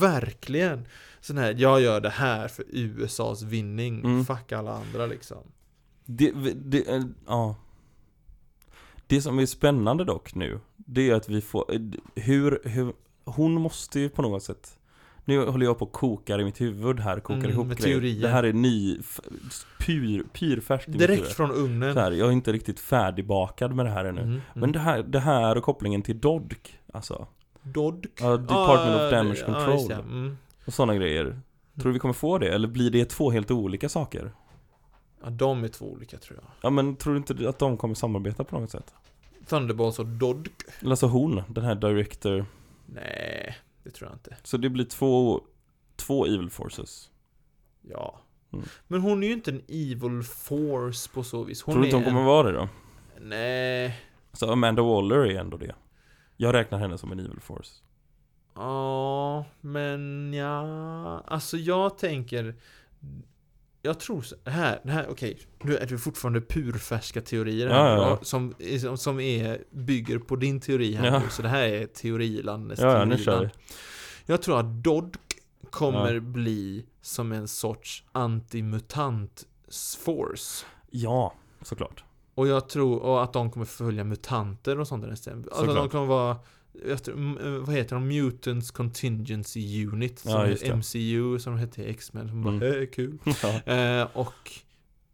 verkligen! Sån här, jag gör det här för USAs vinning. Mm. Fuck alla andra liksom. Det, det, eh, ja. Det som är spännande dock nu, det är att vi får, eh, hur, hur, hon måste ju på något sätt nu håller jag på och kokar i mitt huvud här, kokar Mm, ihop med grejer. teorier. Det här är ny, f- pyr, pyrfärskt i mitt Direkt huvud. från ugnen. Så här, jag är inte riktigt färdigbakad med det här ännu. Mm, mm. Men det här, det här och kopplingen till DODK, alltså. Dodk. Ja, Department Ah, of Damage Mm. ja, Control. just det. Mm. Och sådana grejer. Tror du vi kommer få det? Eller blir det två helt olika saker? Ja, de är två olika tror jag. Ja men tror du inte att de kommer samarbeta på något sätt? Thunderbolts och Dodk. Eller alltså hon, den här director. Nej, det tror jag inte. Så det blir två, två evil forces. Ja. Mm. Men hon är ju inte en evil force på så vis. Hon tror du inte är hon kommer en... vara det då? Nej. Så Amanda Waller är ändå det. Jag räknar henne som en evil force. Ja, men ja. Alltså jag tänker... Jag tror så här, det här okej. Nu är det fortfarande purfärska teorier här Ja, ja, ja. då, Som, som- som är, bygger på din teori här Ja. nu. Så det här är teorilandets Ja, ja, nu teoriland. kör vi. Jag tror att Dodk kommer Ja. bli som en sorts antimutant force. Ja, såklart. Och jag tror och att de kommer följa mutanter och sånt där istället. Alltså de Såklart. kommer vara jag tror, m- eh, vad heter de? Mutants Contingency Unit som Ja, just är det. MCU som hette X-Men som bara Mm. "Eh, kul. Ja. Eh, och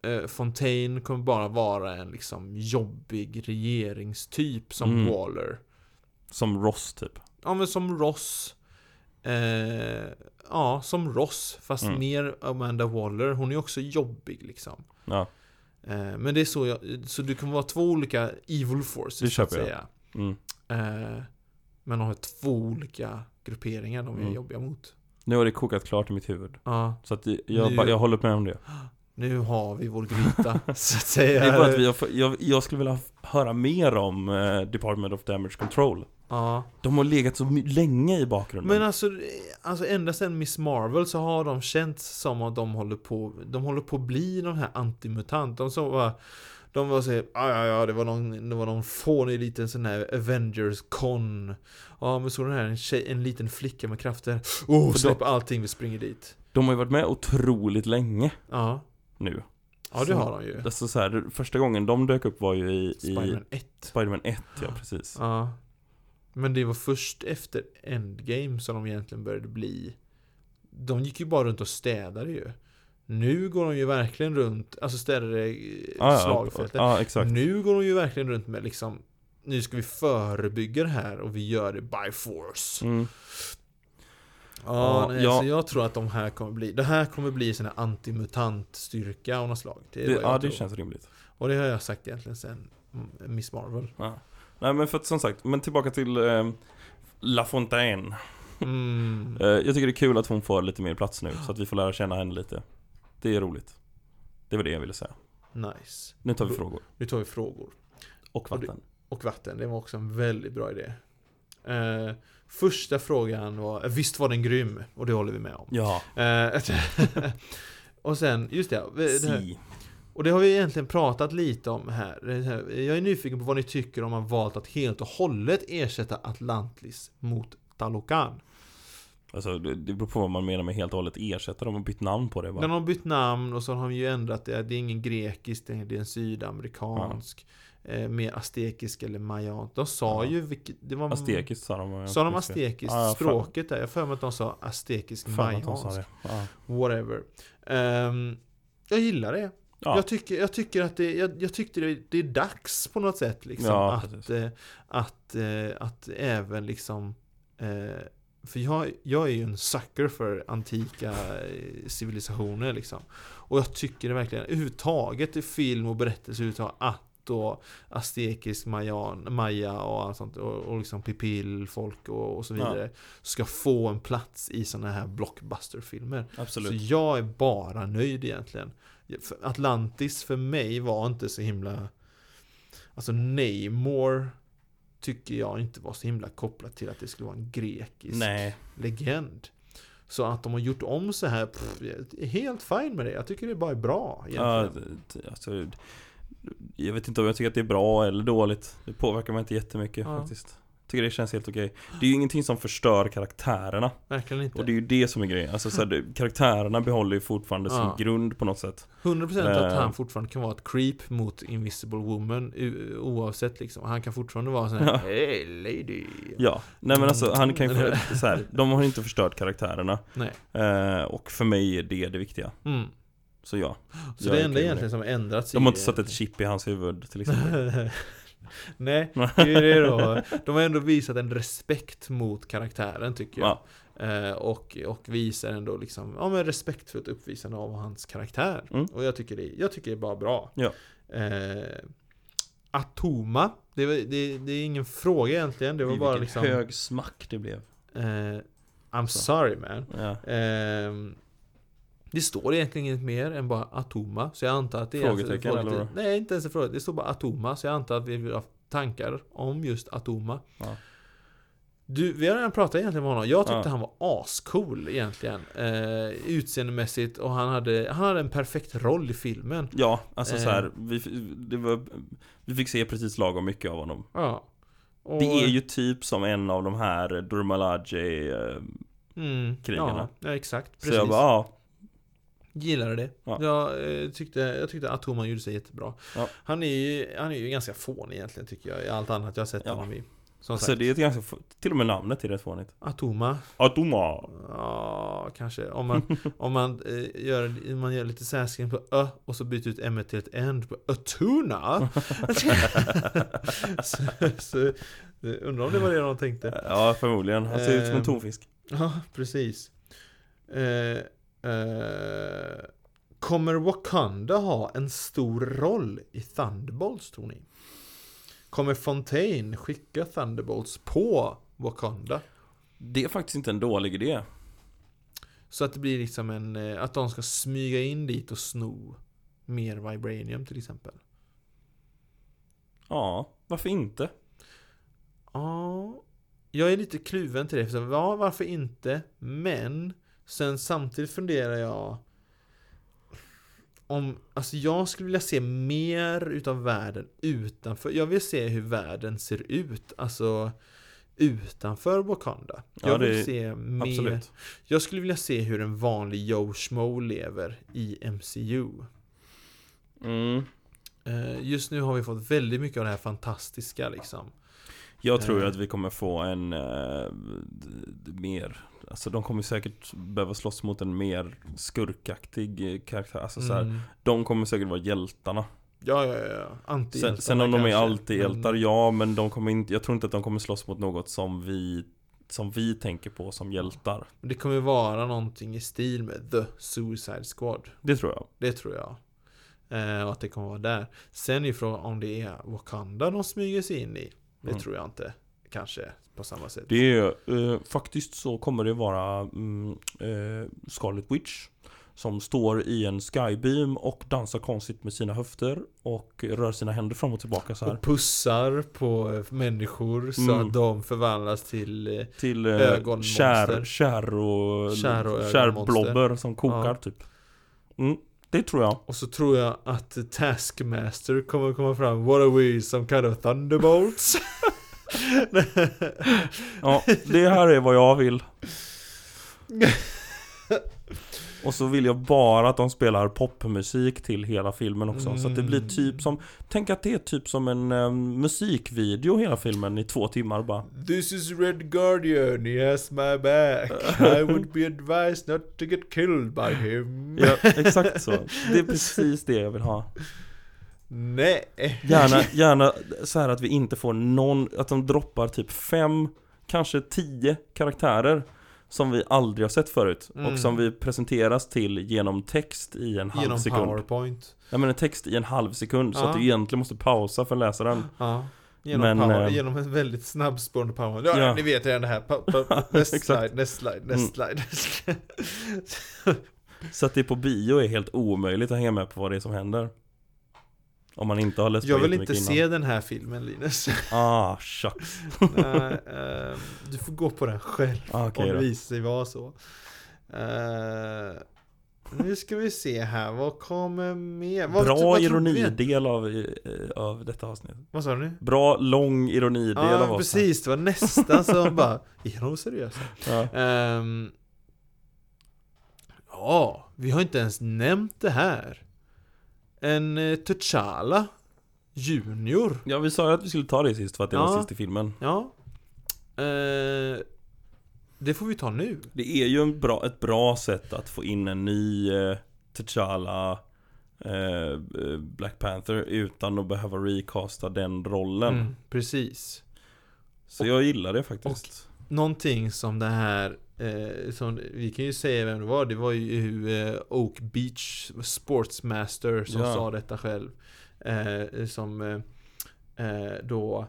eh, Fontaine kommer bara vara en liksom jobbig regeringstyp som Mm. Waller. Som Ross typ. Ja men som Ross. Eh, ja, som Ross fast Mm. mer Amanda Waller. Hon är också jobbig liksom. Ja. Eh, Men det är så jag, så du kan vara två olika evil forces Det så att köper jag. säga. Mm. Eh, Men de har två olika grupperingar de är Mm. jobbiga mot. Nu har det kokat klart i mitt huvud. Ja, Så att jag, Nu- ba- jag håller med om det. nu har vi vår gryta så att Det säga. är bara att vi har, f- jag, jag skulle vilja f- höra mer om eh, Department of Damage Control. Ja. De har legat så my- länge i bakgrunden. Men alltså, eh, alltså ända sedan Miss Marvel så har de känts som att de håller på, de håller på att bli de här antimutant. De som var, de var såhär, ja ja ja, det var någon, det var någon fånig liten sån här Avengers-con. Ja men så den här, en, tjej, en liten flicka med krafter. Oh, För släpp allting, vi springer dit. De har ju varit med otroligt länge Ja, nu. ja det Så- har de ju. Alltså så här, första gången de dök upp var ju i, i Spiderman 1. Spiderman 1, ja precis. Ja. Men det var först efter Endgame som de egentligen började bli De gick ju bara runt och städade ju Nu går de ju verkligen runt, alltså städade eh, Ja, ja, slagfältet Ja, exakt. Nu går de ju verkligen runt med liksom Nu ska vi förebygga det här och vi gör det by force Mm. Ja, Ja, nej, ja. Så jag tror att de här kommer bli Det här kommer bli sån här antimutantstyrka av något slag Det är Det, vad jag ja, det tror. känns rimligt. Och det har jag sagt egentligen sen mm, Miss Marvel Ja. Nej men för att som sagt, men tillbaka till eh, La Fontaine. mm. Eh, jag tycker det är kul att hon får lite mer plats nu, så att vi får lära känna henne lite. Det är roligt. Det var det jag ville säga. Nice Nu tar vi frågor. Nu tar vi frågor. Och Och det- vatten. Och vatten, det var också en väldigt bra idé. Eh, första frågan var, visst var den grym? Och det håller vi med om. Ja, Eh, och sen, just det. Eh, det här, si. och det har vi egentligen pratat lite om här. Det här- Jag är nyfiken på vad ni tycker om man valt att helt och hållet ersätta Atlantis mot Talokan. Alltså det, det beror på vad man menar med helt och hållet ersätta dem och bytt namn på det bara. Den har bytt namn och så har de ju ändrat det. Det är ingen grekisk, det är det är en sydamerikansk. Eh, mer astekisk eller mayan. De sa Ja. ju vilket... Det var, Astekiskt sa de. eh, om jag Sa de minns fel. astekiskt? Ja, jag har för- Språket där? Jag har för mig att de sa astekisk Fan att de sa mayansk. det. Ja. Whatever. Ehm, jag gillar det. Ja. Jag, tycker, jag tycker att det, jag, jag tyckte det, det är dags på något sätt liksom Ja, att, precis. eh, att, eh, att även liksom eh, För jag, jag är ju en sucker för antika eh, civilisationer liksom. Och jag tycker det verkligen, överhuvudtaget i film och berättelser utav att och aztekisk mayan, maya och allt sånt och, och liksom pipil-folk och, och så Ja. vidare. Ska få en plats i sådana här blockbusterfilmer. Så Absolut. jag är bara nöjd egentligen. För Atlantis för mig var inte så himla... Alltså Namor tycker jag inte var så himla kopplat till att det skulle vara en grekisk Nej. legend. Så att de har gjort om så här, pff, jag är helt fine med det. Jag tycker det bara är bra Ja, egentligen. t- alltså, jag vet inte om jag tycker att det är bra eller dåligt. Det påverkar mig inte jättemycket Ja. faktiskt. Tycker det känns helt okej. Det är ju ingenting som förstör karaktärerna. Verkligen Och det är inte. ju det som är grejen. Alltså, så här, det- karaktärerna behåller ju fortfarande Ja. sin grund på något sätt. 100% att Eh. han fortfarande kan vara ett creep mot Invisible Woman u- oavsett liksom. Han kan fortfarande vara sån här Hey lady. Ja, nej men alltså han kan ju Mm. Eller- för, så här, de har inte förstört karaktärerna. Nej. Eh, och för mig är det det viktiga. Mm. Så ja. Så Jag det är okej enda med egentligen som har ändrats De har inte i- satt ett chip i hans huvud till exempel. Nej, det är ju det då. De har ändå visat en respekt mot karaktären tycker jag. Ja, Eh, och, och visar ändå liksom, ja men respektfullt uppvisande av hans karaktär. Mm. Och jag tycker, det, jag tycker det är bara bra. Ja. Eh, Atoma, det, var- det, det är ingen fråga egentligen. Det var bara Vilken liksom... hög smack det blev. Eh, I'm sorry man. Ja. Ehm, det står egentligen inget mer än bara Atoma, så jag antar att det är... Frågetecken, alltså, eller Nej, inte ens en fråga. Det står bara Atoma, så jag antar att vi vill ha tankar om just Atoma. Ja. Du, vi har redan pratat egentligen med honom. Jag tyckte Ja. han var ascool egentligen. Eh, utseendemässigt och han hade, han hade en perfekt roll i filmen. Ja, alltså Eh. så här, vi, det var, vi fick se precis lagom mycket av honom. Ja. Och, Det är ju typ som en av de här Durmalaji eh, mm, krigarna. Ja, ja, exakt. Så jag bara, ja, Gillade det. Ja. Jag, eh, tyckte, jag tyckte att Thoman gjorde sig jättebra. Ja. Han, är ju, han är ju ganska fånig egentligen tycker jag, i allt annat jag har sett Ja. honom i. Som alltså sagt, det är ett ganska, få- till och med namnet är rätt fånigt. Atoma, Atoma! ja kanske. Om man, om man, eh, gör, man gör lite särskrivning på ö och så byter ut m till ett n på Atuna. så, så, jag undrar om det var det de tänkte. Ja, förmodligen. Han ser ut som en Ehm. tonfisk. Ja, precis. Eh, eh, kommer Wakanda ha en stor roll i Thunderbolts tror ni? Kommer Fontaine skicka Thunderbolts på Wakanda? Det är faktiskt inte en dålig idé. Så att det blir liksom en, eh, att de ska smyga in dit och sno mer vibranium till exempel. Ja, varför inte? Ja, jag är lite kluven till det. För så, ja, varför inte? Men sen samtidigt funderar jag om, alltså jag skulle vilja se mer utav världen utanför. Jag vill se hur världen ser ut, alltså utanför Wakanda. Ja, Jag vill det- se mer. Absolut. Jag skulle vilja se hur en vanlig Joe Schmo lever i MCU. Mm. Eh, Just nu har vi fått väldigt mycket av det här fantastiska liksom. Jag tror ju Eh. att vi kommer få en eh, d- d- mer Alltså de kommer säkert behöva slåss mot en mer skurkaktig eh, karaktär Alltså så här, Mm. De kommer säkert vara hjältarna Ja, ja, ja. anti Sen, sen om de är alltid hjältar, ja men de kommer inte Jag tror inte att de kommer slåss mot något som vi Som vi tänker på som hjältar Det kommer vara någonting i stil med The Suicide Squad. Det tror jag Det tror jag. Eh, och att det kommer vara där. Sen är ju frågan om det är Wakanda de smyger sig in i. Det Mm. tror jag inte. Kanske på samma sätt. Det är, eh, faktiskt så kommer det vara mm, eh, Scarlet Witch Som står i en skybeam och dansar konstigt med sina höfter Och rör sina händer fram och tillbaka så här. Och pussar på eh, människor så Mm. att de förvandlas till eh, Till eh, Ögonmonster. kär, kär och, Kär och kärblobber som kokar Ja. typ mm, Det tror jag Och så tror jag att Taskmaster kommer komma fram What are we, some kind of thunderbolts? ja, Det här är vad jag vill Och så vill jag bara att de spelar popmusik till hela filmen också Så att det blir Mm. typ som Tänk att det är typ som en eh, musikvideo hela filmen i två timmar bara This is Red Guardian, he has my back. I would be advised not to get killed by him. Ja, exakt så Det är precis det jag vill ha Nej. Gärna, gärna så här att vi inte får någon, att de droppar typ fem kanske tio karaktärer som vi aldrig har sett förut Mm. och som vi presenteras till genom text i en halv Genom sekund. powerpoint. Nej men en text i en halv sekund så Ja. att du egentligen måste pausa för läsaren. Ja. Genom, Men, power, eh, genom en väldigt snabbspårande power. Ja, ja. ni vet redan det här. Pa, pa, pa, näst Exakt. Mm. slide, näst slide, näst slide. Så att det på bio är helt omöjligt att hänga med på vad det är som händer. Om man inte har läst Jag på vill inte jättemycket se den här filmen Linus. Ah, shucks. Nej, eh, du får gå på den själv Ah, om Okej det då. visar sig vara så. Eh, nu ska vi se här, vad kommer mer? Vad, Bra vad tror du- ironidel av, eh, av detta avsnitt. Vad sa du nu? Bra, lång ironidel Ja, av avsnittet. precis. Det var nästan som bara, är de seriösa? Ja. Ehm, ja, vi har inte ens nämnt det här. En eh, T'Challa Junior. ja, vi sa ju att vi skulle ta det sist för att det var Ja. sist i filmen. Ja. Eh, det får vi ta nu. Det är ju en bra, ett bra sätt att få in en ny eh, T'Challa eh, eh, Black Panther utan att behöva recasta den rollen. Mm, precis. Så jag gillar det faktiskt. Någonting som det här eh, som, vi kan ju säga vem det var. Det var ju eh, Oak Beach Sportsmaster som Ja. sa detta själv. Eh, som eh, eh, då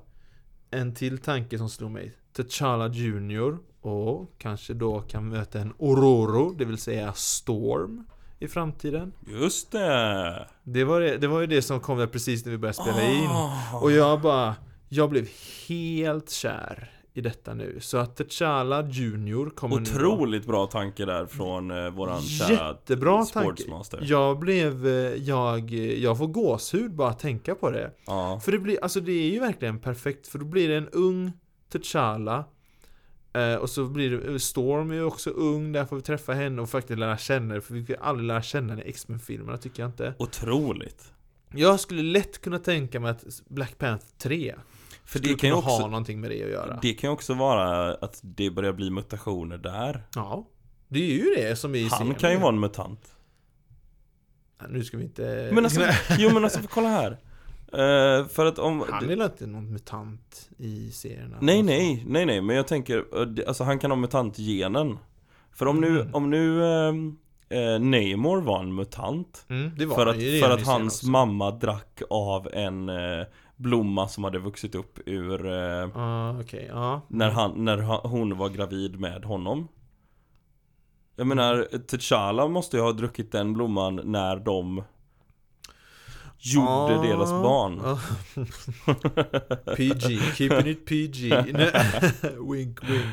en till tanke som slog mig. T'Challa Junior och kanske då kan möta en Ororo, det vill säga Storm i framtiden. Just det! Det var, det, det var ju det som kom där precis när vi började spela in. Ah. Och jag bara, jag blev helt kär i detta nu. Så att T'Challa Junior kommer nu. Otroligt bra tanke där från eh, våran kära Jättebra tanke. Sportsmaster. Jag blev, eh, jag, jag får gåshud bara att tänka på det. Ja. För det blir, alltså det är ju verkligen perfekt. För då blir det en ung T'Challa. Eh, och så blir det, Storm är ju också ung, där får vi träffa henne och faktiskt lära känna henne. För vi fick aldrig lära känna henne i X-Men-filmerna tycker jag inte. Otroligt. Jag skulle lätt kunna tänka mig att Black Panther 3 För skulle det kan ju kunna ha också, någonting med det att göra. det kan ju också vara att det börjar bli mutationer där. Ja, det är ju det som är i Han serien. kan ju vara en mutant. Ja, Nu ska vi inte... Men alltså, jo men alltså kolla här. Eh, för att om... Han är väl inte någon mutant i serierna? Nej Alltså. nej, nej nej, men jag tänker, eh, det- alltså han kan ha mutantgenen. För om nu, Mm. om nu ehm, eh, Namor var en mutant. Mm, det var För han att, ju redan för i att serien hans också. mamma drack av en eh, blomma som hade vuxit upp ur eh, Ja, okej. Ja. När, han, när ha- hon var gravid med honom Jag menar, T'Challa måste ju ha druckit den blomman när de Gjorde Ja. deras barn Ja. PG, keeping it PG. Nej, wink, wink.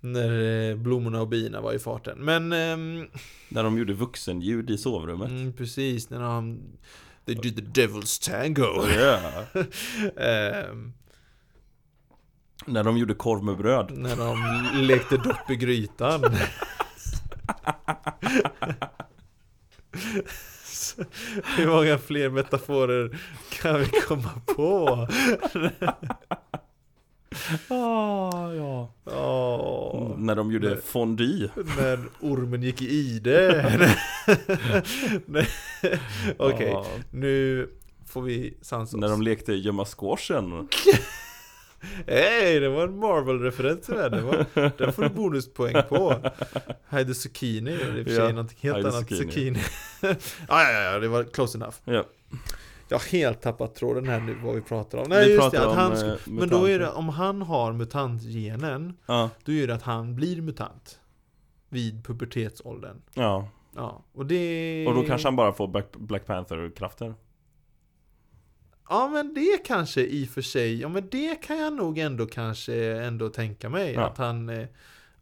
När eh, blommorna och bina var i farten. Men, ehm, När de gjorde vuxenljud i sovrummet mm, precis, när han... They did the devil's tango. Ja. Ehm, När de gjorde korv med bröd när de lekte dopp i grytan. Hur många fler metaforer kan vi komma på? ah, ja. Åh, När de gjorde fondue när ormen gick i ide. Nej. Okej, Ja. nu får vi sansa När oss. de lekte gömma squashen Hej, det var en Marvel-referens tyvärr. Det var, den får du bonuspoäng på. Hide the zucchini, det är i och för sig Ja, någonting helt hide the annat. zucchini. Zucchini. ah, ja, ja, ja, det var close enough. ja. Jag har helt tappat tråden här nu vad vi pratar om. Nej, Vi just pratar det, att om, han eh, skulle, Men då är mutanter. det, om han har mutantgenen, Ja, då är det att han blir mutant. Vid pubertetsåldern. ja. Ja, och det... Och då kanske han bara får Black, Black Panther-krafter Ja men det kanske i och för sig, ja men det kan jag nog ändå kanske ändå tänka mig Ja. att han eh, Ja,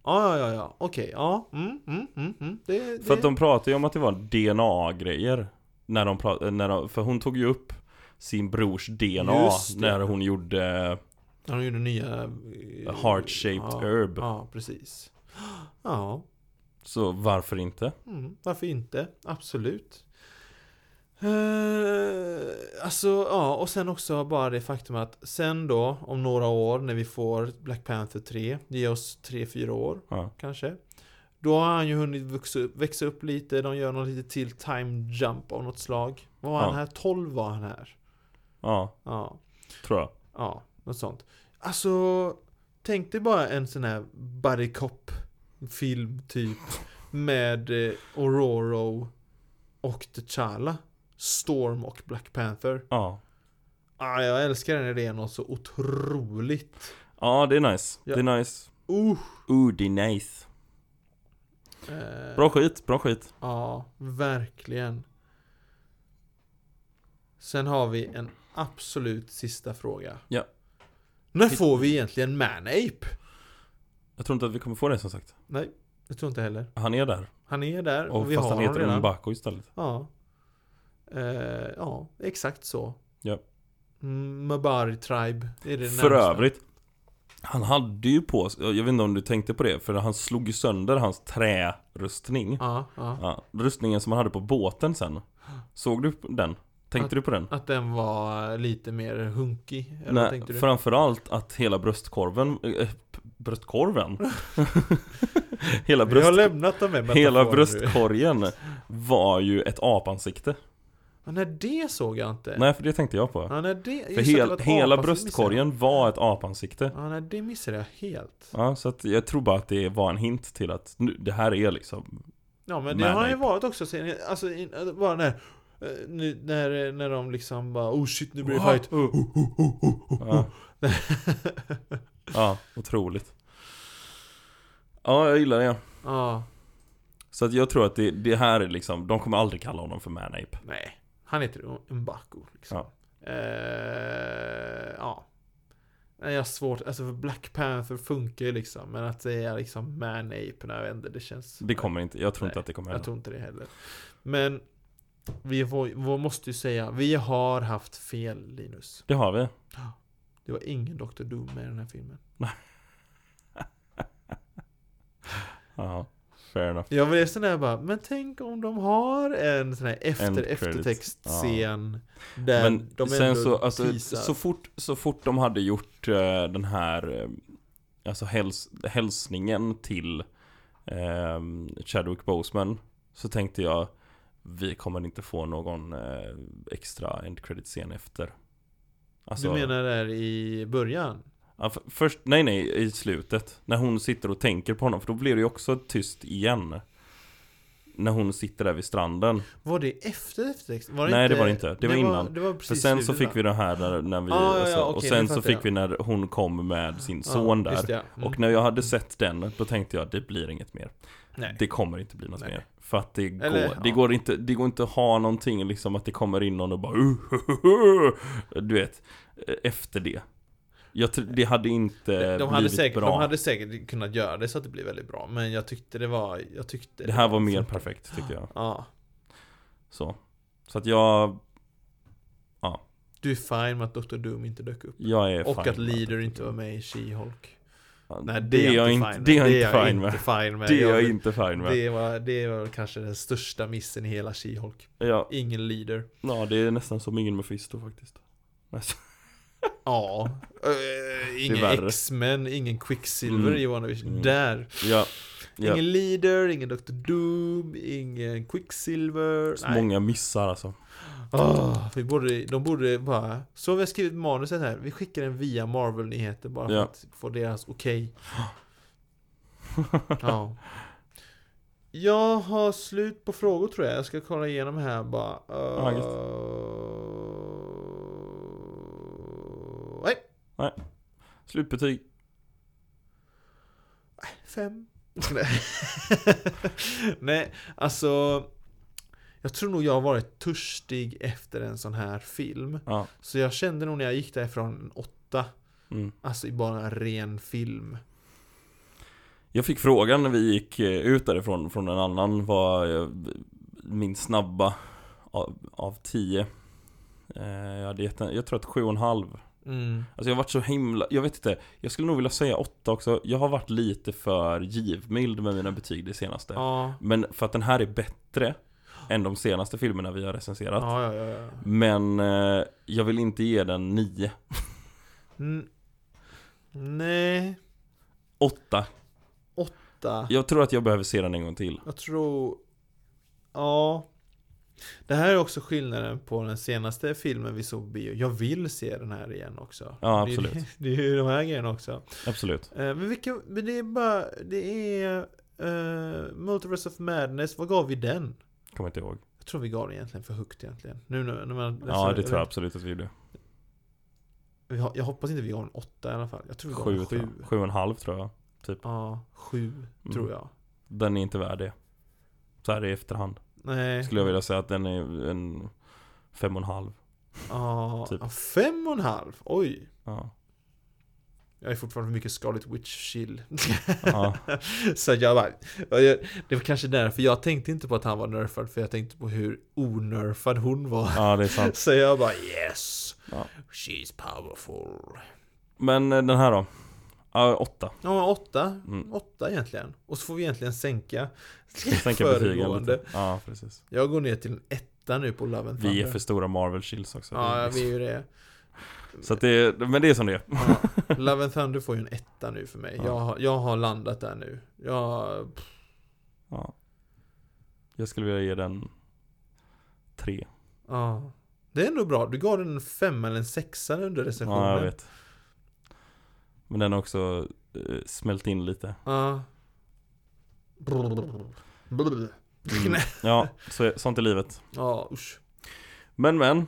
ja, ja, ja. okej, ja, mm, mm, mm, mm. Det, För det, att de pratade ju om att det var DNA-grejer när de pratade, när de, för hon tog ju upp sin brors DNA Just det. när hon gjorde ja, de gjorde nya... eh, eh, Heart-shaped ja, herb Ja, precis. Ja, Så varför inte? mm, varför inte? Absolut. Uh, alltså, ja, och sen också bara det faktum att sen då, om några år, när vi får Black Panther 3, det ger oss 3-4 år. Ja. kanske. Då har han ju hunnit växa upp, växa upp lite, de gör något lite till time jump av något slag. Vad var Ja. han här? 12 var han här. ja, Ja, tror jag ja, något sånt. Alltså, tänk dig bara en sån här buddy cop film typ med eh, Ororo och T'Challa, Storm och Black Panther. Ja. Ah, jag älskar den idén och så otroligt. Ja, det är nice. Ja. Det är nice. Uh, Ooh, det är nice. eh, Bra skit, bra skit. Ja, verkligen. Sen har vi en absolut sista fråga. Ja. När får vi egentligen Manape? Jag tror inte att vi kommer få det som sagt. Nej, jag tror inte heller. Han är där. Han är där och, Och vi fast har han honom heter redan. Mbako istället. Ja. Eh, ja, exakt så. Ja. Mm, Mabari Tribe. Det är det För närmsta. övrigt. Han hade ju på sig, jag vet inte om du tänkte på det, för han slog ju sönder hans trärustning. Ja, ja. Ja, rustningen som han hade på båten sen. Såg du den? Tänkte du på den? Att den var lite mer hunkig. Eller vad Nej, tänkte du? framförallt att hela bröstkorven, äh, bröstkorven? hela Vi har bröst, lämnat dem med hela metaforer nu. bröstkorgen var ju ett apansikte. Ja, nej, det såg jag inte. Nej, för det tänkte jag på. Ja, nej, det, just för att det hel, var ett hela apa, så missade bröstkorgen var ett apansikte. jag. Ja, nej, det missade jag helt. Ja, så att jag tror bara att det var en hint till att nu, det här är liksom Ja, men det Men har ju nej. varit också sen, alltså, in, äh, bara när, eh, nu- när, när de liksom bara oh shit nu blir det fight. Ja, ja otroligt. Ja, jag gillar det. ja, Så att jag tror att det, det här är liksom, de kommer aldrig kalla honom för Manape. nej. Han heter Mbaku liksom. Ja. Eh, ja. Nej, jag har svårt, alltså för Black Panther funkar ju liksom, men att säga liksom man-ape när jag vänder, det känns... Det kommer inte, jag tror Nej, inte att det kommer Jag hända. tror inte det heller. Men vi, får, vi måste ju säga, vi har haft fel Linus. Det har vi. Det var ingen Dr. Doom med i den här filmen. Ja, fair enough. Jag blev sån där bara, men tänk om de har en sån här efter End credits. eftertextscen. Där Men de sen ändå så, alltså, teasar. så, fort, så fort de hade gjort eh, den här eh, Alltså häls hälsningen till eh, Chadwick Boseman Så tänkte jag Vi kommer inte få någon eh, extra end credit scen efter Alltså- Du menar där i början? Ja, f- först, nej nej, i slutet. När hon sitter och tänker på honom, för då blir det ju också tyst igen. När hon sitter där vid stranden. Var det efter eftertext? Var Nej, det var det inte. Det var innan. det var För precis sen så slutet, fick vi va? den här när, när vi... Ah, ja, ja, alltså, och okej, sen nu så fattar fick jag. vi när hon kom med sin Ja, son där. just det, ja. Mm. Och när jag hade sett den, då tänkte jag det blir inget mer. Nej. Det kommer inte bli något Nej. mer. För att det, Eller, går, det, ja. går inte, det går inte att ha någonting liksom att det kommer in någon och bara uh, Du vet, eh, efter det. Jag, tr- det hade inte de, hade blivit säkert, bra. de hade säkert kunnat göra det så att det blir väldigt bra. Men jag tyckte det var... Jag tyckte Det här var mer perfekt tycker jag. Ja. Så. Så att jag, Du är fine med att Dr. Doom inte dök upp. jag är Och fine att Leader inte var med i She-Hulk. Ja, Nej, det, det är jag inte, inte fine det är jag med. inte fine med. inte fine med. Det är jag vill- inte fine med. Det var, det var kanske den största missen i hela She-Hulk. Ja, Ingen leader. ja, det är nästan som ingen Mephisto faktiskt. Alltså, Nej, så- Ja. Eh, Det är ingen värre. X-Men, ingen Quicksilver Mm. i WandaVision. Mm. Där. Ja, ja. Ingen leader, ingen Dr. Doom, ingen Quicksilver. Så Nej. många missar alltså. Ah, vi borde, de borde bara... Så vi har skrivit manuset här. Vi skickar den via Marvel-nyheter bara för Ja. att få deras okej. Ja. Jag har slut på frågor tror jag. Jag ska kolla igenom här bara. Ja, gött. Eh, nej, Slutbetyg. fem. Nej. nej, alltså. Jag tror nog jag har varit törstig efter en sån här film. Ja. Så jag kände nog när jag gick därifrån en åtta. Mm. Alltså i bara ren film. Jag fick frågan när vi gick eh, ut därifrån från en annan var eh, min snabba av, av 10. Eh, Jag hade gett en, jag tror att 7,5 Mm. Alltså jag har varit så himla, jag vet inte Jag skulle nog vilja säga åtta också Jag har varit lite för givmild med mina betyg det senaste Ja. Men för att den här är bättre Än de senaste filmerna vi har recenserat Ja, ja, ja, ja. Men eh, jag vill inte ge den nio Mm. Nej. åtta Åtta. Jag tror att jag behöver se den en gång till Jag tror... Ja. Det här är också skillnaden på den senaste filmen vi såg på bio. Jag vill se den här igen också. Ja, Det är- absolut. Det är ju de här grejerna också. Absolut. Eh, Men, vilka, men det är bara, det är uh, Multiverse of Madness, vad gav vi den? Kommer inte ihåg. Jag tror vi gav den egentligen för högt egentligen. Nu när när man... Ja, det tror jag absolut att vi gjorde. Vi har- Jag hoppas inte vi gav en åtta i alla fall. Jag tror vi gav Sju, en tror sju. jag. Sju Mm. och en halv tror jag. Ja, sju tror jag. Den är inte värd det. Så här i efterhand. Nej. Skulle jag vilja säga att den är en fem och en halv. Ja, typ. ja, fem och en halv. Oj. Ja. Jag är fortfarande för mycket Scarlet Witch-chill. ja. Så jag bara, och jag, det var kanske därför jag tänkte inte på att han var nerfad, för jag tänkte på hur onerfad hon var. ja, det är sant. Så jag bara yes, Ja. she's powerful. Men eh, den här då? Ja, åtta. Ja, åtta. Mm. Åtta egentligen. Och så får vi egentligen sänka Sänka betygen lite. Ja, precis. Jag går ner till en etta nu på Love and Thunder. Vi är för stora Marvel Shields också. liksom- Ja, vi är ju det. Så att det är, men det är som det är. Ja, Love and Thunder får ju en etta nu för mig. Jag, har- jag har landat där nu. Jag... Ja. Jag skulle vilja ge den tre. Ja. Det är ändå bra. Du gav den en femma eller en sexa under recensionen. Ja, jag vet. Men den har också eh, smält in lite. Ja. Brr. Brr. Mm. Ja, så, sånt är livet. Ja, usch. Men men.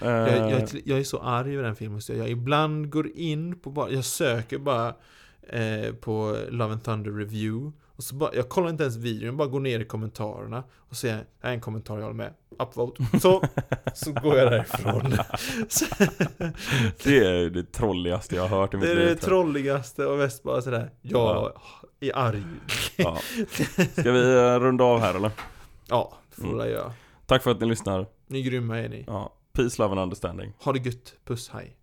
Eh, Jag, jag, är till- jag är så arg över den filmen så jag ibland går in på bara, jag söker bara eh, på Love and Thunder Review. Och så bara, jag kollar inte ens videon, jag bara går ner i kommentarerna och ser, här är en kommentar jag håller med. Upvote. Så, så går jag därifrån. Så, Det är det trolligaste jag har hört i mitt det är liv. det tror trolligaste och mest bara sådär, jag är arg. jag. ja. Ska vi eh, runda av här eller? Ja, det Mm. får jag göra. Tack för att ni lyssnar. Ni är grymma är ni. Ja. Peace, love and understanding. Ha det gött, puss, hej.